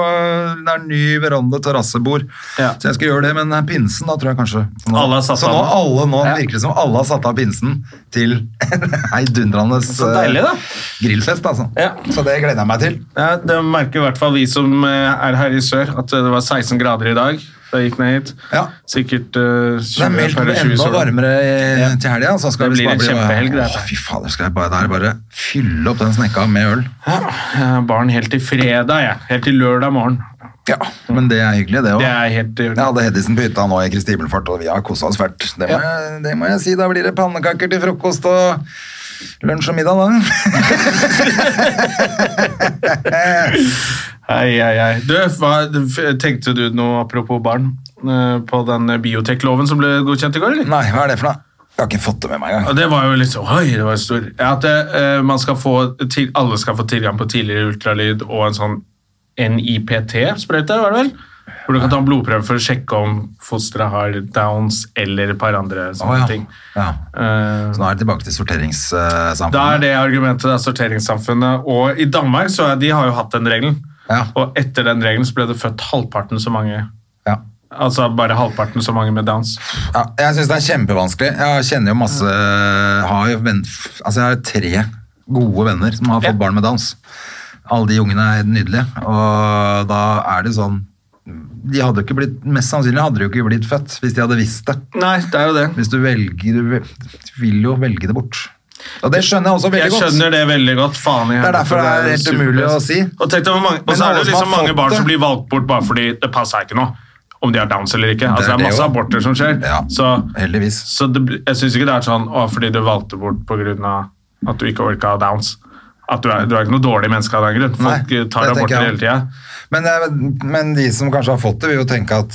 Speaker 1: det er ny veranda, terrassebord.
Speaker 2: Ja.
Speaker 1: Så jeg skal gjøre det, men eh, pinsen da tror jeg kanskje Så nå,
Speaker 2: Alle har satt
Speaker 1: så nå,
Speaker 2: av den.
Speaker 1: alle, nå
Speaker 2: Ja.
Speaker 1: virker det som alle har satt av pinsen til heidundrende
Speaker 2: Så deilig, da.
Speaker 1: grillfest, altså.
Speaker 2: Ja.
Speaker 1: Så det gleder jeg meg til.
Speaker 2: Ja, det merker i hvert fall vi som eh, er her i sør, at det var 16 grader i dag da jeg gikk ned hit.
Speaker 1: Ja.
Speaker 2: Sikkert eh, 20,
Speaker 1: Det er meldt
Speaker 2: par og
Speaker 1: blir
Speaker 2: 20
Speaker 1: enda
Speaker 2: sol.
Speaker 1: varmere i- til helga. så skal
Speaker 2: Det
Speaker 1: vi
Speaker 2: blir
Speaker 1: bare
Speaker 2: en
Speaker 1: bli-
Speaker 2: kjempehelg, det.
Speaker 1: Å, Fy fader, skal jeg bare, der, bare fylle opp den snekka med øl.
Speaker 2: Jeg har barn helt til fredag, jeg. Helt til lørdag morgen.
Speaker 1: Ja, Men det er hyggelig, det òg.
Speaker 2: Det er helt i
Speaker 1: Jeg
Speaker 2: orden.
Speaker 1: hadde Hedisen på hytta nå i Kristi himmelfart, og vi har kosa oss fælt. Det, må jeg- det må jeg si. Da blir det pannekaker til frokost og lunsj og middag, da.
Speaker 2: Ei, ei, ei. Du, hva f- tenkte du noe apropos barn eh, på den biotekloven som ble godkjent i går, eller?
Speaker 1: Nei, hva er det for noe? Jeg har ikke fått det med meg engang.
Speaker 2: Og det var jo litt sånn Oi, det var stor. Ja, at eh, man skal få til, alle skal få tilgang på tidligere ultralyd og en sånn NIPT-sprøyte, var det vel? Hvor du kan ta en blodprøve for å sjekke om fosteret har downs eller et par andre sånne
Speaker 1: Å, ja.
Speaker 2: ting.
Speaker 1: Ja.
Speaker 2: Eh,
Speaker 1: Så nå er det tilbake til sorteringssamfunnet.
Speaker 2: da er det argumentet det er sorteringssamfunnet. Og i Danmark så er, de har jo hatt den regelen.
Speaker 1: Ja.
Speaker 2: Og etter den regelen så ble det født halvparten så mange
Speaker 1: Ja.
Speaker 2: Altså bare halvparten så mange med downs.
Speaker 1: Ja, jeg syns det er kjempevanskelig. Jeg kjenner jo masse har jo venn, altså Jeg har tre gode venner som har fått
Speaker 2: Ja.
Speaker 1: barn med Downs. Alle de ungene er nydelige. Og da er det sånn de hadde jo ikke blitt, Mest sannsynlig hadde de jo ikke blitt født hvis de hadde visst det.
Speaker 2: Nei, det er jo det.
Speaker 1: Hvis du velger Du vel- du vil jo velge det bort. Og det skjønner jeg også veldig
Speaker 2: Jeg
Speaker 1: godt.
Speaker 2: skjønner det veldig godt. Faen, jeg
Speaker 1: Det er derfor det er helt umulig å si.
Speaker 2: Og tenk deg hvor mange, og
Speaker 1: Men
Speaker 2: så er
Speaker 1: alle
Speaker 2: det
Speaker 1: som
Speaker 2: liksom
Speaker 1: har
Speaker 2: mange
Speaker 1: fått
Speaker 2: barn
Speaker 1: det-
Speaker 2: som blir valgt bort bare fordi det passer ikke nå. Om de har downs eller ikke. Altså, det,
Speaker 1: er
Speaker 2: er
Speaker 1: det
Speaker 2: masse
Speaker 1: jo.
Speaker 2: aborter som skjer.
Speaker 1: Ja,
Speaker 2: så
Speaker 1: heldigvis.
Speaker 2: så det, blir- jeg syns ikke det er sånn å, fordi du valgte bort pga. at du ikke orka downs. At du er, du er ikke noe dårlig menneske av den grunn. Folk
Speaker 1: Nei,
Speaker 2: eh, tar
Speaker 1: det tenker
Speaker 2: aborter
Speaker 1: jeg.
Speaker 2: hele tida.
Speaker 1: Men, det er- men de som kanskje har fått det, vil jo tenke at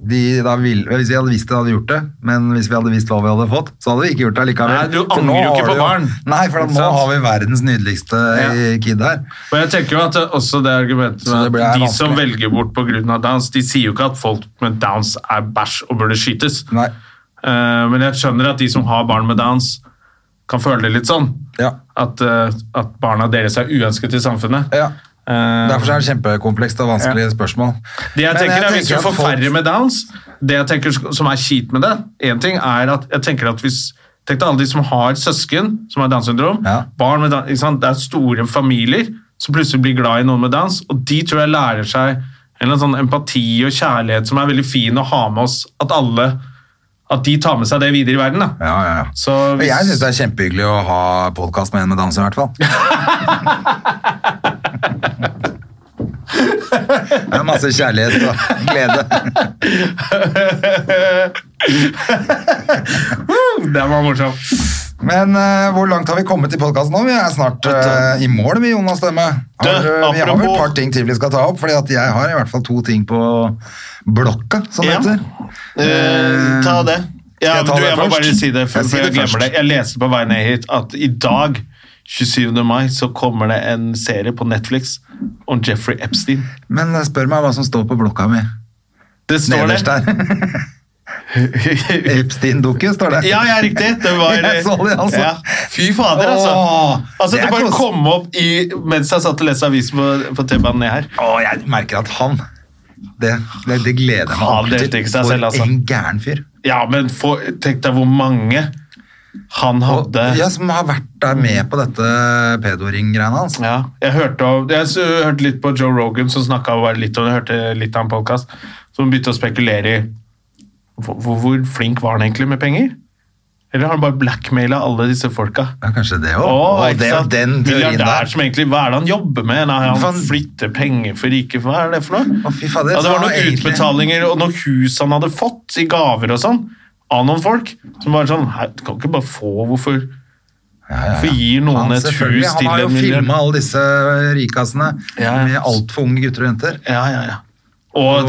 Speaker 1: de da vil, hvis vi hadde visst det, hadde vi gjort det. Men hvis vi hadde visst hva vi hadde fått, så hadde vi ikke gjort det likevel.
Speaker 2: Nei, du
Speaker 1: For nå
Speaker 2: angrer jo ikke
Speaker 1: har
Speaker 2: på
Speaker 1: du
Speaker 2: barn.
Speaker 1: Nei, for at nå
Speaker 2: Ikke sant?
Speaker 1: har vi verdens nydeligste eh,
Speaker 2: Ja.
Speaker 1: kid her.
Speaker 2: Og jeg tenker jo at det, også det argumentet
Speaker 1: Så det
Speaker 2: med
Speaker 1: blir-
Speaker 2: at
Speaker 1: er
Speaker 2: de som
Speaker 1: vanskelig.
Speaker 2: velger bort pga. downs, de sier jo ikke at folk med downs er bæsj og burde skytes.
Speaker 1: Nei.
Speaker 2: Eh, men jeg skjønner at de som har barn med downs, kan føle det litt sånn.
Speaker 1: Ja.
Speaker 2: At, eh, at barna deres er uønsket i samfunnet.
Speaker 1: Ja.
Speaker 2: Eh,
Speaker 1: Derfor er det kjempekomplekst og vanskelige spørsmål.
Speaker 2: det jeg
Speaker 1: Men
Speaker 2: tenker er Hvis du
Speaker 1: tenker
Speaker 2: får
Speaker 1: at folk-
Speaker 2: færre med downs, det jeg tenker sk- som er kjipt med det en ting er at jeg tenker at hvis Tenk deg alle de som har søsken som har Downs syndrom.
Speaker 1: Ja.
Speaker 2: barn med Down- ikke sant? Det er store familier som plutselig blir glad i noen med Downs, og de tror jeg lærer seg en eller annen sånn empati og kjærlighet som er veldig fin å ha med oss. At alle at de tar med seg det videre i verden. da.
Speaker 1: Ja, ja, ja.
Speaker 2: Så
Speaker 1: Men
Speaker 2: hvis,
Speaker 1: Jeg syns det er kjempehyggelig å ha podkast med en med dans, i hvert fall. Det er masse kjærlighet og glede.
Speaker 2: det var morsomt.
Speaker 1: Men eh, hvor langt har vi kommet i podkasten nå? Vi er snart eh, i mål, vi, Jonas Stemme. Har,
Speaker 2: Du,
Speaker 1: eh, vi har vel
Speaker 2: apropos-
Speaker 1: et par ting til vi skal ta opp, fordi at jeg har i hvert fall to ting på blokka, som det
Speaker 2: Ja.
Speaker 1: heter.
Speaker 2: Eh, ta det.
Speaker 1: Skal
Speaker 2: Ja,
Speaker 1: jeg
Speaker 2: men
Speaker 1: ta
Speaker 2: du,
Speaker 1: det
Speaker 2: jeg må
Speaker 1: først?
Speaker 2: bare si det, for,
Speaker 1: Jeg sier
Speaker 2: jeg, for jeg
Speaker 1: det
Speaker 2: glemmer
Speaker 1: først.
Speaker 2: det. Jeg leste på vei ned hit at i dag, 27. mai, så kommer det en serie på Netflix om Jeffrey Epstein.
Speaker 1: Men eh, spør meg hva som står på blokka mi.
Speaker 2: Det står
Speaker 1: Nederst
Speaker 2: det.
Speaker 1: der. Epstein-dukke, står det.
Speaker 2: Ja, ja, riktig. Det var,
Speaker 1: Jeg så det, altså.
Speaker 2: Ja. Fy fader, altså.
Speaker 1: Åh,
Speaker 2: altså
Speaker 1: det
Speaker 2: det
Speaker 1: er
Speaker 2: bare
Speaker 1: kos-
Speaker 2: kom opp i, mens jeg satt og leste avisen på, på T-banen ned her.
Speaker 1: Å, jeg merker at han Det, det, det gleder jeg meg
Speaker 2: Han
Speaker 1: ordentlig
Speaker 2: drepte ikke seg
Speaker 1: For
Speaker 2: selv, altså.
Speaker 1: en gæren fyr.
Speaker 2: Ja, men få- tenk deg hvor mange han
Speaker 1: Og,
Speaker 2: hadde
Speaker 1: ja, som har vært der med på dette pedoring-greiene hans.
Speaker 2: Ja, jeg hørte, av- jeg s- hørte litt på Joe Rogan som snakka litt om det, jeg hørte litt av en podkast, som begynte å spekulere i hvor, hvor, hvor flink var han egentlig med penger? Eller har han bare blackmaila alle disse folka?
Speaker 1: Ja, kanskje det òg.
Speaker 2: Åh,
Speaker 1: Og
Speaker 2: ikke
Speaker 1: det er
Speaker 2: sant?
Speaker 1: den teorien
Speaker 2: Milliardær
Speaker 1: der.
Speaker 2: som egentlig, Hva er det han jobber med? Nei, han
Speaker 1: Fan.
Speaker 2: flytter penger for rike Hva er det for noe?
Speaker 1: Å, fy fader,
Speaker 2: ja, det
Speaker 1: så
Speaker 2: var
Speaker 1: han
Speaker 2: noen
Speaker 1: egentlig-
Speaker 2: utbetalinger og noen hus han hadde fått i gaver og sånn, av noen folk. Som bare sånn "Hei, Du kan ikke bare få Hvorfor, hvorfor gir noen
Speaker 1: Han,
Speaker 2: et
Speaker 1: selvfølgelig,
Speaker 2: hus til
Speaker 1: han har jo
Speaker 2: en milliard?
Speaker 1: filma alle disse rikasene
Speaker 2: Ja, ja.
Speaker 1: med altfor unge gutter og jenter.
Speaker 2: Ja, ja, ja. Og,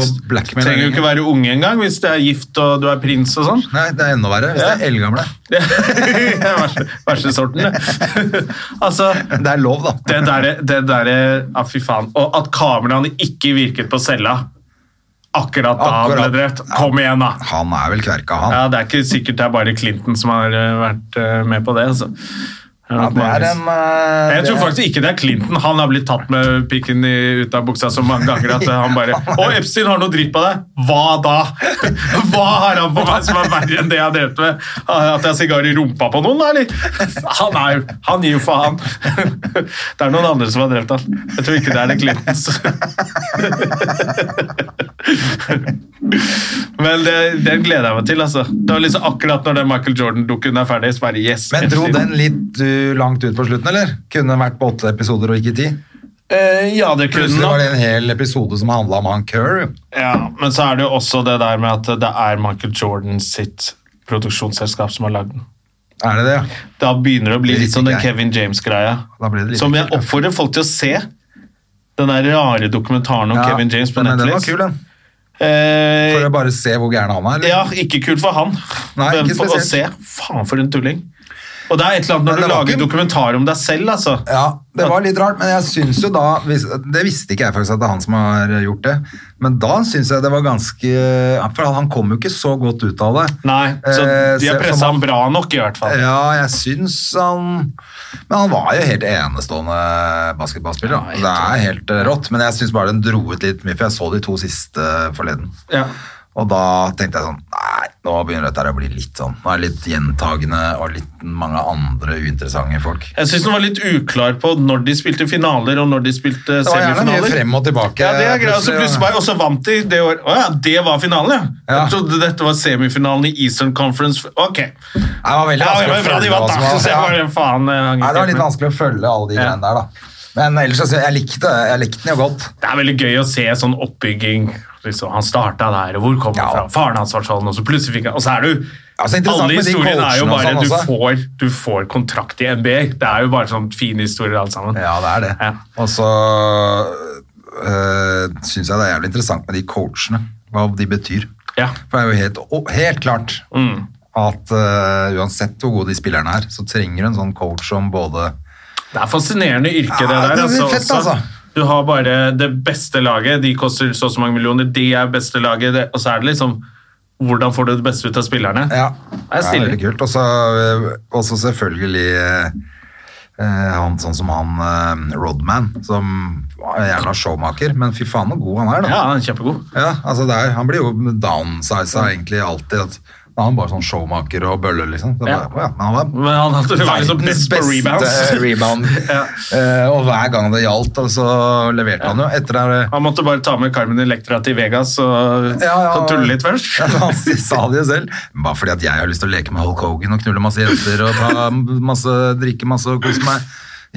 Speaker 1: Og
Speaker 2: det
Speaker 1: blackmail
Speaker 2: trenger jo
Speaker 1: er
Speaker 2: ikke være unge engang hvis du er gift og du er prins og sånn.
Speaker 1: Nei, det er enda verre hvis
Speaker 2: Ja.
Speaker 1: det er eldgamle.
Speaker 2: Det er verste, verste sorten, det. altså,
Speaker 1: Det er lov, da.
Speaker 2: det derre det derre- Ja, fy faen. Og at kameraene ikke virket på cella akkurat da han ble
Speaker 1: Akkurat.
Speaker 2: drept. Kom igjen, da!
Speaker 1: Han er vel kverka, han.
Speaker 2: Ja, Det er ikke sikkert det er bare Clinton som har eh, vært eh, med på det. Altså. Det er
Speaker 1: Ja,
Speaker 2: nok
Speaker 1: det er
Speaker 2: mange-
Speaker 1: en eh,
Speaker 2: Jeg tror
Speaker 1: det-
Speaker 2: faktisk ikke det er Clinton. Han har blitt tatt med pikken i, ut av buksa så mange ganger at han bare Å, Epstein har noe dritt på deg! Hva da?! Hva har han på meg som er verre enn det jeg har drevet med? At jeg har sigar i rumpa på noen, da, eller? Han, er, jo- han gir jo faen. Det er noen andre som har drept han. Jeg tror ikke det er det Clintons. Men det, den gleder jeg meg til, altså. Det var liksom akkurat når den Michael Jordan-dukken er ferdig, så bare yes.
Speaker 1: Men dro
Speaker 2: Epstein.
Speaker 1: den litt uh, langt ut på slutten, eller? Kunne vært på åtte episoder og ikke ti.
Speaker 2: Eh, Ja, det kunne
Speaker 1: Plutselig
Speaker 2: nok.
Speaker 1: var det en hel episode som handla om han Kerr.
Speaker 2: Ja, men så er det jo også det der med at det er Michael Jordan sitt produksjonsselskap som har lagd den.
Speaker 1: Er det det?
Speaker 2: Da begynner det å bli
Speaker 1: Det
Speaker 2: litt som den
Speaker 1: liker jeg.
Speaker 2: Kevin James-greia.
Speaker 1: Da blir det litt
Speaker 2: Som jeg
Speaker 1: ekkelt, ja.
Speaker 2: oppfordrer folk til å se. Den der rare dokumentaren om
Speaker 1: Ja,
Speaker 2: Kevin James på
Speaker 1: men Den var
Speaker 2: Netflix.
Speaker 1: kul, den. For
Speaker 2: Eh,
Speaker 1: å bare se hvor gæren han er. eller?
Speaker 2: ja, ikke kult for han,
Speaker 1: Nei,
Speaker 2: men
Speaker 1: ikke
Speaker 2: for å se.
Speaker 1: spesielt.
Speaker 2: Faen, for en tulling. Og det er et eller annet
Speaker 1: Men
Speaker 2: når
Speaker 1: det
Speaker 2: du
Speaker 1: var
Speaker 2: lager
Speaker 1: ikke-
Speaker 2: dokumentar om deg selv, altså.
Speaker 1: Ja, det var litt rart, men jeg syns jo da hvis- Det visste ikke jeg faktisk at det er han som har gjort det, men da syns jeg det var ganske For han kom jo ikke så godt ut av det.
Speaker 2: Nei, så
Speaker 1: Eh,
Speaker 2: de
Speaker 1: se- Eh,
Speaker 2: har pressa
Speaker 1: som
Speaker 2: han bra nok, i hvert fall.
Speaker 1: Ja, jeg syns han Men han var jo helt enestående basketballspiller. Da. Det er helt eh, rått, men jeg syns bare den dro ut litt mye, for jeg så de to siste forleden.
Speaker 2: Ja.
Speaker 1: Og da tenkte jeg sånn Nei, nå begynner dette her å bli litt sånn Nå er det litt gjentagende og litt mange andre uinteressante folk.
Speaker 2: Jeg syns den var litt uklar på når de spilte finaler og når de spilte
Speaker 1: Det var gjerne mye
Speaker 2: semifinaler.
Speaker 1: frem og tilbake.
Speaker 2: Ja, det er greit. Og så
Speaker 1: plutselig,
Speaker 2: plutselig bare, og så vant de det året. Å ja, det var finalen, ja.
Speaker 1: Ja.
Speaker 2: Jeg trodde dette var semifinalen i Eastern Conference. Ok.
Speaker 1: Nei, det var veldig
Speaker 2: Ja,
Speaker 1: vanskelig
Speaker 2: men
Speaker 1: å
Speaker 2: fra de
Speaker 1: følge
Speaker 2: vant,
Speaker 1: hva som
Speaker 2: da. Så jeg
Speaker 1: var-
Speaker 2: bare,
Speaker 1: ja.
Speaker 2: faen, eh, jeg hang
Speaker 1: Nei, det var
Speaker 2: ikke
Speaker 1: litt
Speaker 2: med.
Speaker 1: vanskelig å følge alle de
Speaker 2: Ja.
Speaker 1: greiene der, da. Men ellers, altså, jeg likte, jeg likte den jo godt.
Speaker 2: Det er veldig gøy å se sånn oppbygging. Liksom, han starta der, og hvor kom han
Speaker 1: Ja.
Speaker 2: fra? Faren hans var sånn, og så plutselig fikk han Og så er du
Speaker 1: Ja, så interessant
Speaker 2: Alle
Speaker 1: med de
Speaker 2: historiene er
Speaker 1: coachene
Speaker 2: jo
Speaker 1: og
Speaker 2: bare
Speaker 1: sånn
Speaker 2: du
Speaker 1: også.
Speaker 2: får, du får kontrakt i NBA. Det er jo bare sånn fine historier, alt sammen.
Speaker 1: Ja, det er det.
Speaker 2: Ja.
Speaker 1: Og så øh, syns jeg det er jævlig interessant med de coachene, hva de betyr.
Speaker 2: Ja. Mm.
Speaker 1: For det er jo helt, å- helt klart at øh, uansett hvor gode de spillerne er, så trenger du en sånn coach som både
Speaker 2: Det er fascinerende yrke, det
Speaker 1: Ja,
Speaker 2: der.
Speaker 1: det er
Speaker 2: altså,
Speaker 1: fett,
Speaker 2: også.
Speaker 1: altså.
Speaker 2: Du har bare det beste laget. De koster så og så mange millioner. De er beste laget. Det, og så er det liksom Hvordan får du det beste ut av spillerne?
Speaker 1: Ja,
Speaker 2: Det er stilig.
Speaker 1: veldig kult. Og så øh, og så selvfølgelig øh, han sånn som han øh, Rodman, som er gjerne showmaker, men fy faen hvor god han er, da.
Speaker 2: Ja, han er kjempegod.
Speaker 1: Ja, altså det er, han blir jo downsiza egentlig alltid. At, da er han bare sånn showmaker og bølle, liksom. Det er
Speaker 2: Ja.
Speaker 1: bare, «Å ja. men han var
Speaker 2: Men han hadde det var liksom
Speaker 1: verdens
Speaker 2: best på rebounds.
Speaker 1: beste eh, rebound.
Speaker 2: Ja.
Speaker 1: Eh, og hver gang det gjaldt, og så leverte han jo. Etter det
Speaker 2: Han måtte bare ta med Carmen Electra til Vegas og,
Speaker 1: Ja, ja.
Speaker 2: og tulle litt først.
Speaker 1: Ja, han sa det jo selv. Bare fordi at jeg har lyst til å leke med Hulk Hogan og knulle masse jenter og ta masse, drikke masse og kose meg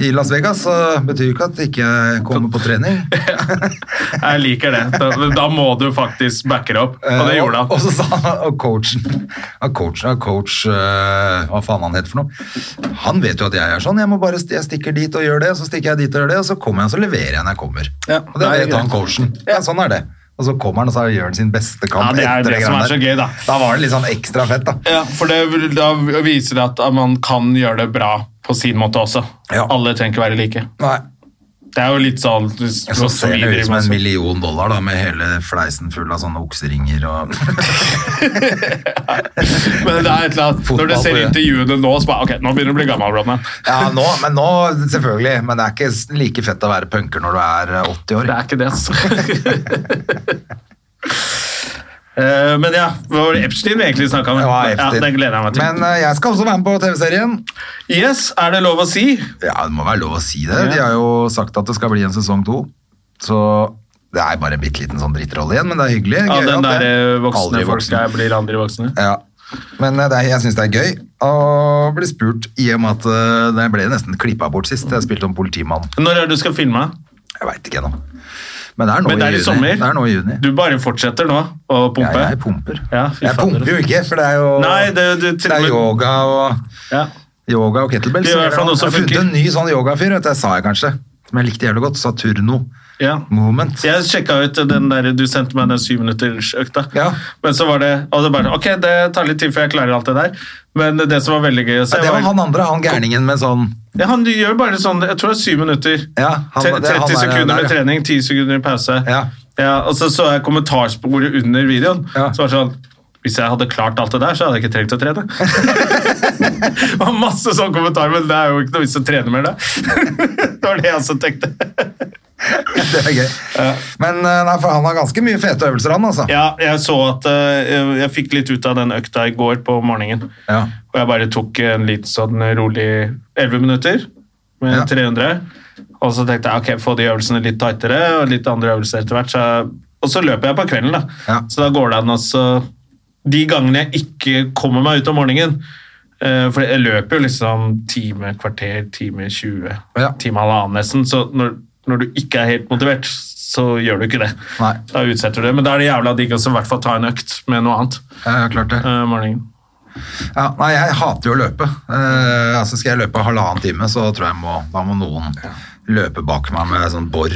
Speaker 1: i Las Vegas, så betyr jo ikke at jeg ikke kommer på trening.
Speaker 2: Jeg liker det. Da, da må du faktisk backe det opp. Og det
Speaker 1: Eh,
Speaker 2: gjorde
Speaker 1: Og
Speaker 2: han.
Speaker 1: så sa han, og coachen, og coachen, og coach, eh, hva faen han heter for noe, han vet jo at jeg er sånn, jeg må bare, st- jeg stikker dit og gjør det, og så stikker jeg dit og gjør det, og så kommer jeg, og så leverer jeg når jeg kommer.
Speaker 2: Ja,
Speaker 1: og det
Speaker 2: det er
Speaker 1: vet han
Speaker 2: greit.
Speaker 1: coachen. Ja, sånn er det. Og så kommer han, og så gjør han sin beste
Speaker 2: Ja,
Speaker 1: kamp
Speaker 2: det er
Speaker 1: etter
Speaker 2: det som er så
Speaker 1: greiene
Speaker 2: gøy,
Speaker 1: der.
Speaker 2: da.
Speaker 1: Da var det litt sånn ekstra fett, da.
Speaker 2: Ja, for det, da viser det at man kan gjøre det bra på sin måte også.
Speaker 1: Ja.
Speaker 2: Alle trenger ikke være like.
Speaker 1: Nei,
Speaker 2: Det er jo litt sånn hvis-
Speaker 1: så
Speaker 2: som
Speaker 1: ser
Speaker 2: vi
Speaker 1: det ut
Speaker 2: driver
Speaker 1: som
Speaker 2: med
Speaker 1: en
Speaker 2: også.
Speaker 1: million dollar, da, med hele fleisen full av sånne okseringer og...
Speaker 2: Men det er et eller annet Når du
Speaker 1: Fotball,
Speaker 2: ser
Speaker 1: tror jeg.
Speaker 2: intervjuene nå, så bare Ok, nå begynner du å bli gammel, Rodman.
Speaker 1: Ja, nå, men nå, selvfølgelig, men det er ikke like fett å være punker når du er eh, 80 år.
Speaker 2: Det er ikke det, altså. Eh, Men ja, hva var det Epstein vi egentlig snakka om?
Speaker 1: Det var
Speaker 2: Ja,
Speaker 1: heftig.
Speaker 2: den gleder jeg meg til.
Speaker 1: Men eh, jeg skal også være med på TV-serien.
Speaker 2: yes, er det lov å si?
Speaker 1: Ja, Det må være lov å si det. De har jo sagt at det skal bli en sesong to. Så det er bare en bitte liten sånn drittrolle igjen, men det er hyggelig.
Speaker 2: Ja,
Speaker 1: Gøy
Speaker 2: den
Speaker 1: at
Speaker 2: der
Speaker 1: det-
Speaker 2: eh, voksne
Speaker 1: Aldri
Speaker 2: folk
Speaker 1: voksen.
Speaker 2: er, blir andre voksne.
Speaker 1: Ja. Men eh, det er, jeg syns det er gøy å bli spurt, i og med at eh, det ble nesten klippa bort sist. Jeg spilte om politimann.
Speaker 2: Når er det du skal filme?
Speaker 1: Jeg veit ikke ennå. Men det er nå
Speaker 2: Men det er i
Speaker 1: juni.
Speaker 2: sommer.
Speaker 1: Det er nå i juni.
Speaker 2: Du bare fortsetter nå å
Speaker 1: Ja,
Speaker 2: pumpe?
Speaker 1: jeg pumper.
Speaker 2: Ja, fy
Speaker 1: jeg
Speaker 2: fader.
Speaker 1: pumper jo ikke, for det er jo
Speaker 2: Nei, det- det- til-
Speaker 1: er yoga og
Speaker 2: Ja.
Speaker 1: Yoga og kettlebell.
Speaker 2: Det er i hvert fall noe som
Speaker 1: jeg har funnet
Speaker 2: funker.
Speaker 1: en ny sånn yogafyr, vet du, jeg sa jeg kanskje. Som jeg likte jævlig godt. Saturno
Speaker 2: ja.
Speaker 1: Movement.
Speaker 2: Jeg sjekka ut den der du sendte meg den syvminuttersøkta.
Speaker 1: Ja.
Speaker 2: Men så var det og det bare, Ok, det tar litt tid før jeg klarer alt det der. Men det som var veldig gøy å se
Speaker 1: Ja, det var
Speaker 2: var-
Speaker 1: han andre, han gærningen med sånn
Speaker 2: ja, han gjør bare sånn Jeg tror det er syv minutter.
Speaker 1: Ja, han-
Speaker 2: Tre-
Speaker 1: det er
Speaker 2: 30
Speaker 1: han der-
Speaker 2: sekunder
Speaker 1: der,
Speaker 2: med
Speaker 1: ja.
Speaker 2: trening, 10 sekunder pause.
Speaker 1: Ja.
Speaker 2: Ja, og så så jeg kommentarsporet under videoen.
Speaker 1: Ja.
Speaker 2: Så var det sånn Hvis jeg hadde klart alt det der, så hadde jeg ikke trengt å trene. det var masse sånne kommentarer, men det er jo ikke noe vits å trene mer, da. det var det jeg også tenkte.
Speaker 1: Det er gøy. Men eh, nei, for han har ganske mye fete øvelser, han, altså.
Speaker 2: ja, jeg så at eh, jeg fikk litt ut av den økta i går på morgenen.
Speaker 1: Ja.
Speaker 2: Og jeg bare tok en liten sånn rolig 11 minutter med
Speaker 1: Ja.
Speaker 2: 300. Og så tenkte jeg ok, få de øvelsene litt tightere og litt andre øvelser etter hvert. Så jeg, og så løper jeg på kvelden, da.
Speaker 1: Ja.
Speaker 2: Så da går det an også De gangene jeg ikke kommer meg ut om morgenen eh, For jeg løper jo liksom time, kvarter, time 20,
Speaker 1: Ja.
Speaker 2: time halvannen nesten. Så når, når du ikke er helt motivert, så gjør du ikke det.
Speaker 1: Nei.
Speaker 2: Da utsetter du det. Men da er det jævla digg også i hvert fall ta en økt med noe annet.
Speaker 1: Ja, ja, klart det.
Speaker 2: eh, morgenen.
Speaker 1: Ja, nei, jeg hater jo å løpe. Eh, altså Skal jeg løpe halvannen time, så tror jeg må, da må noen løpe bak meg med sånn bor.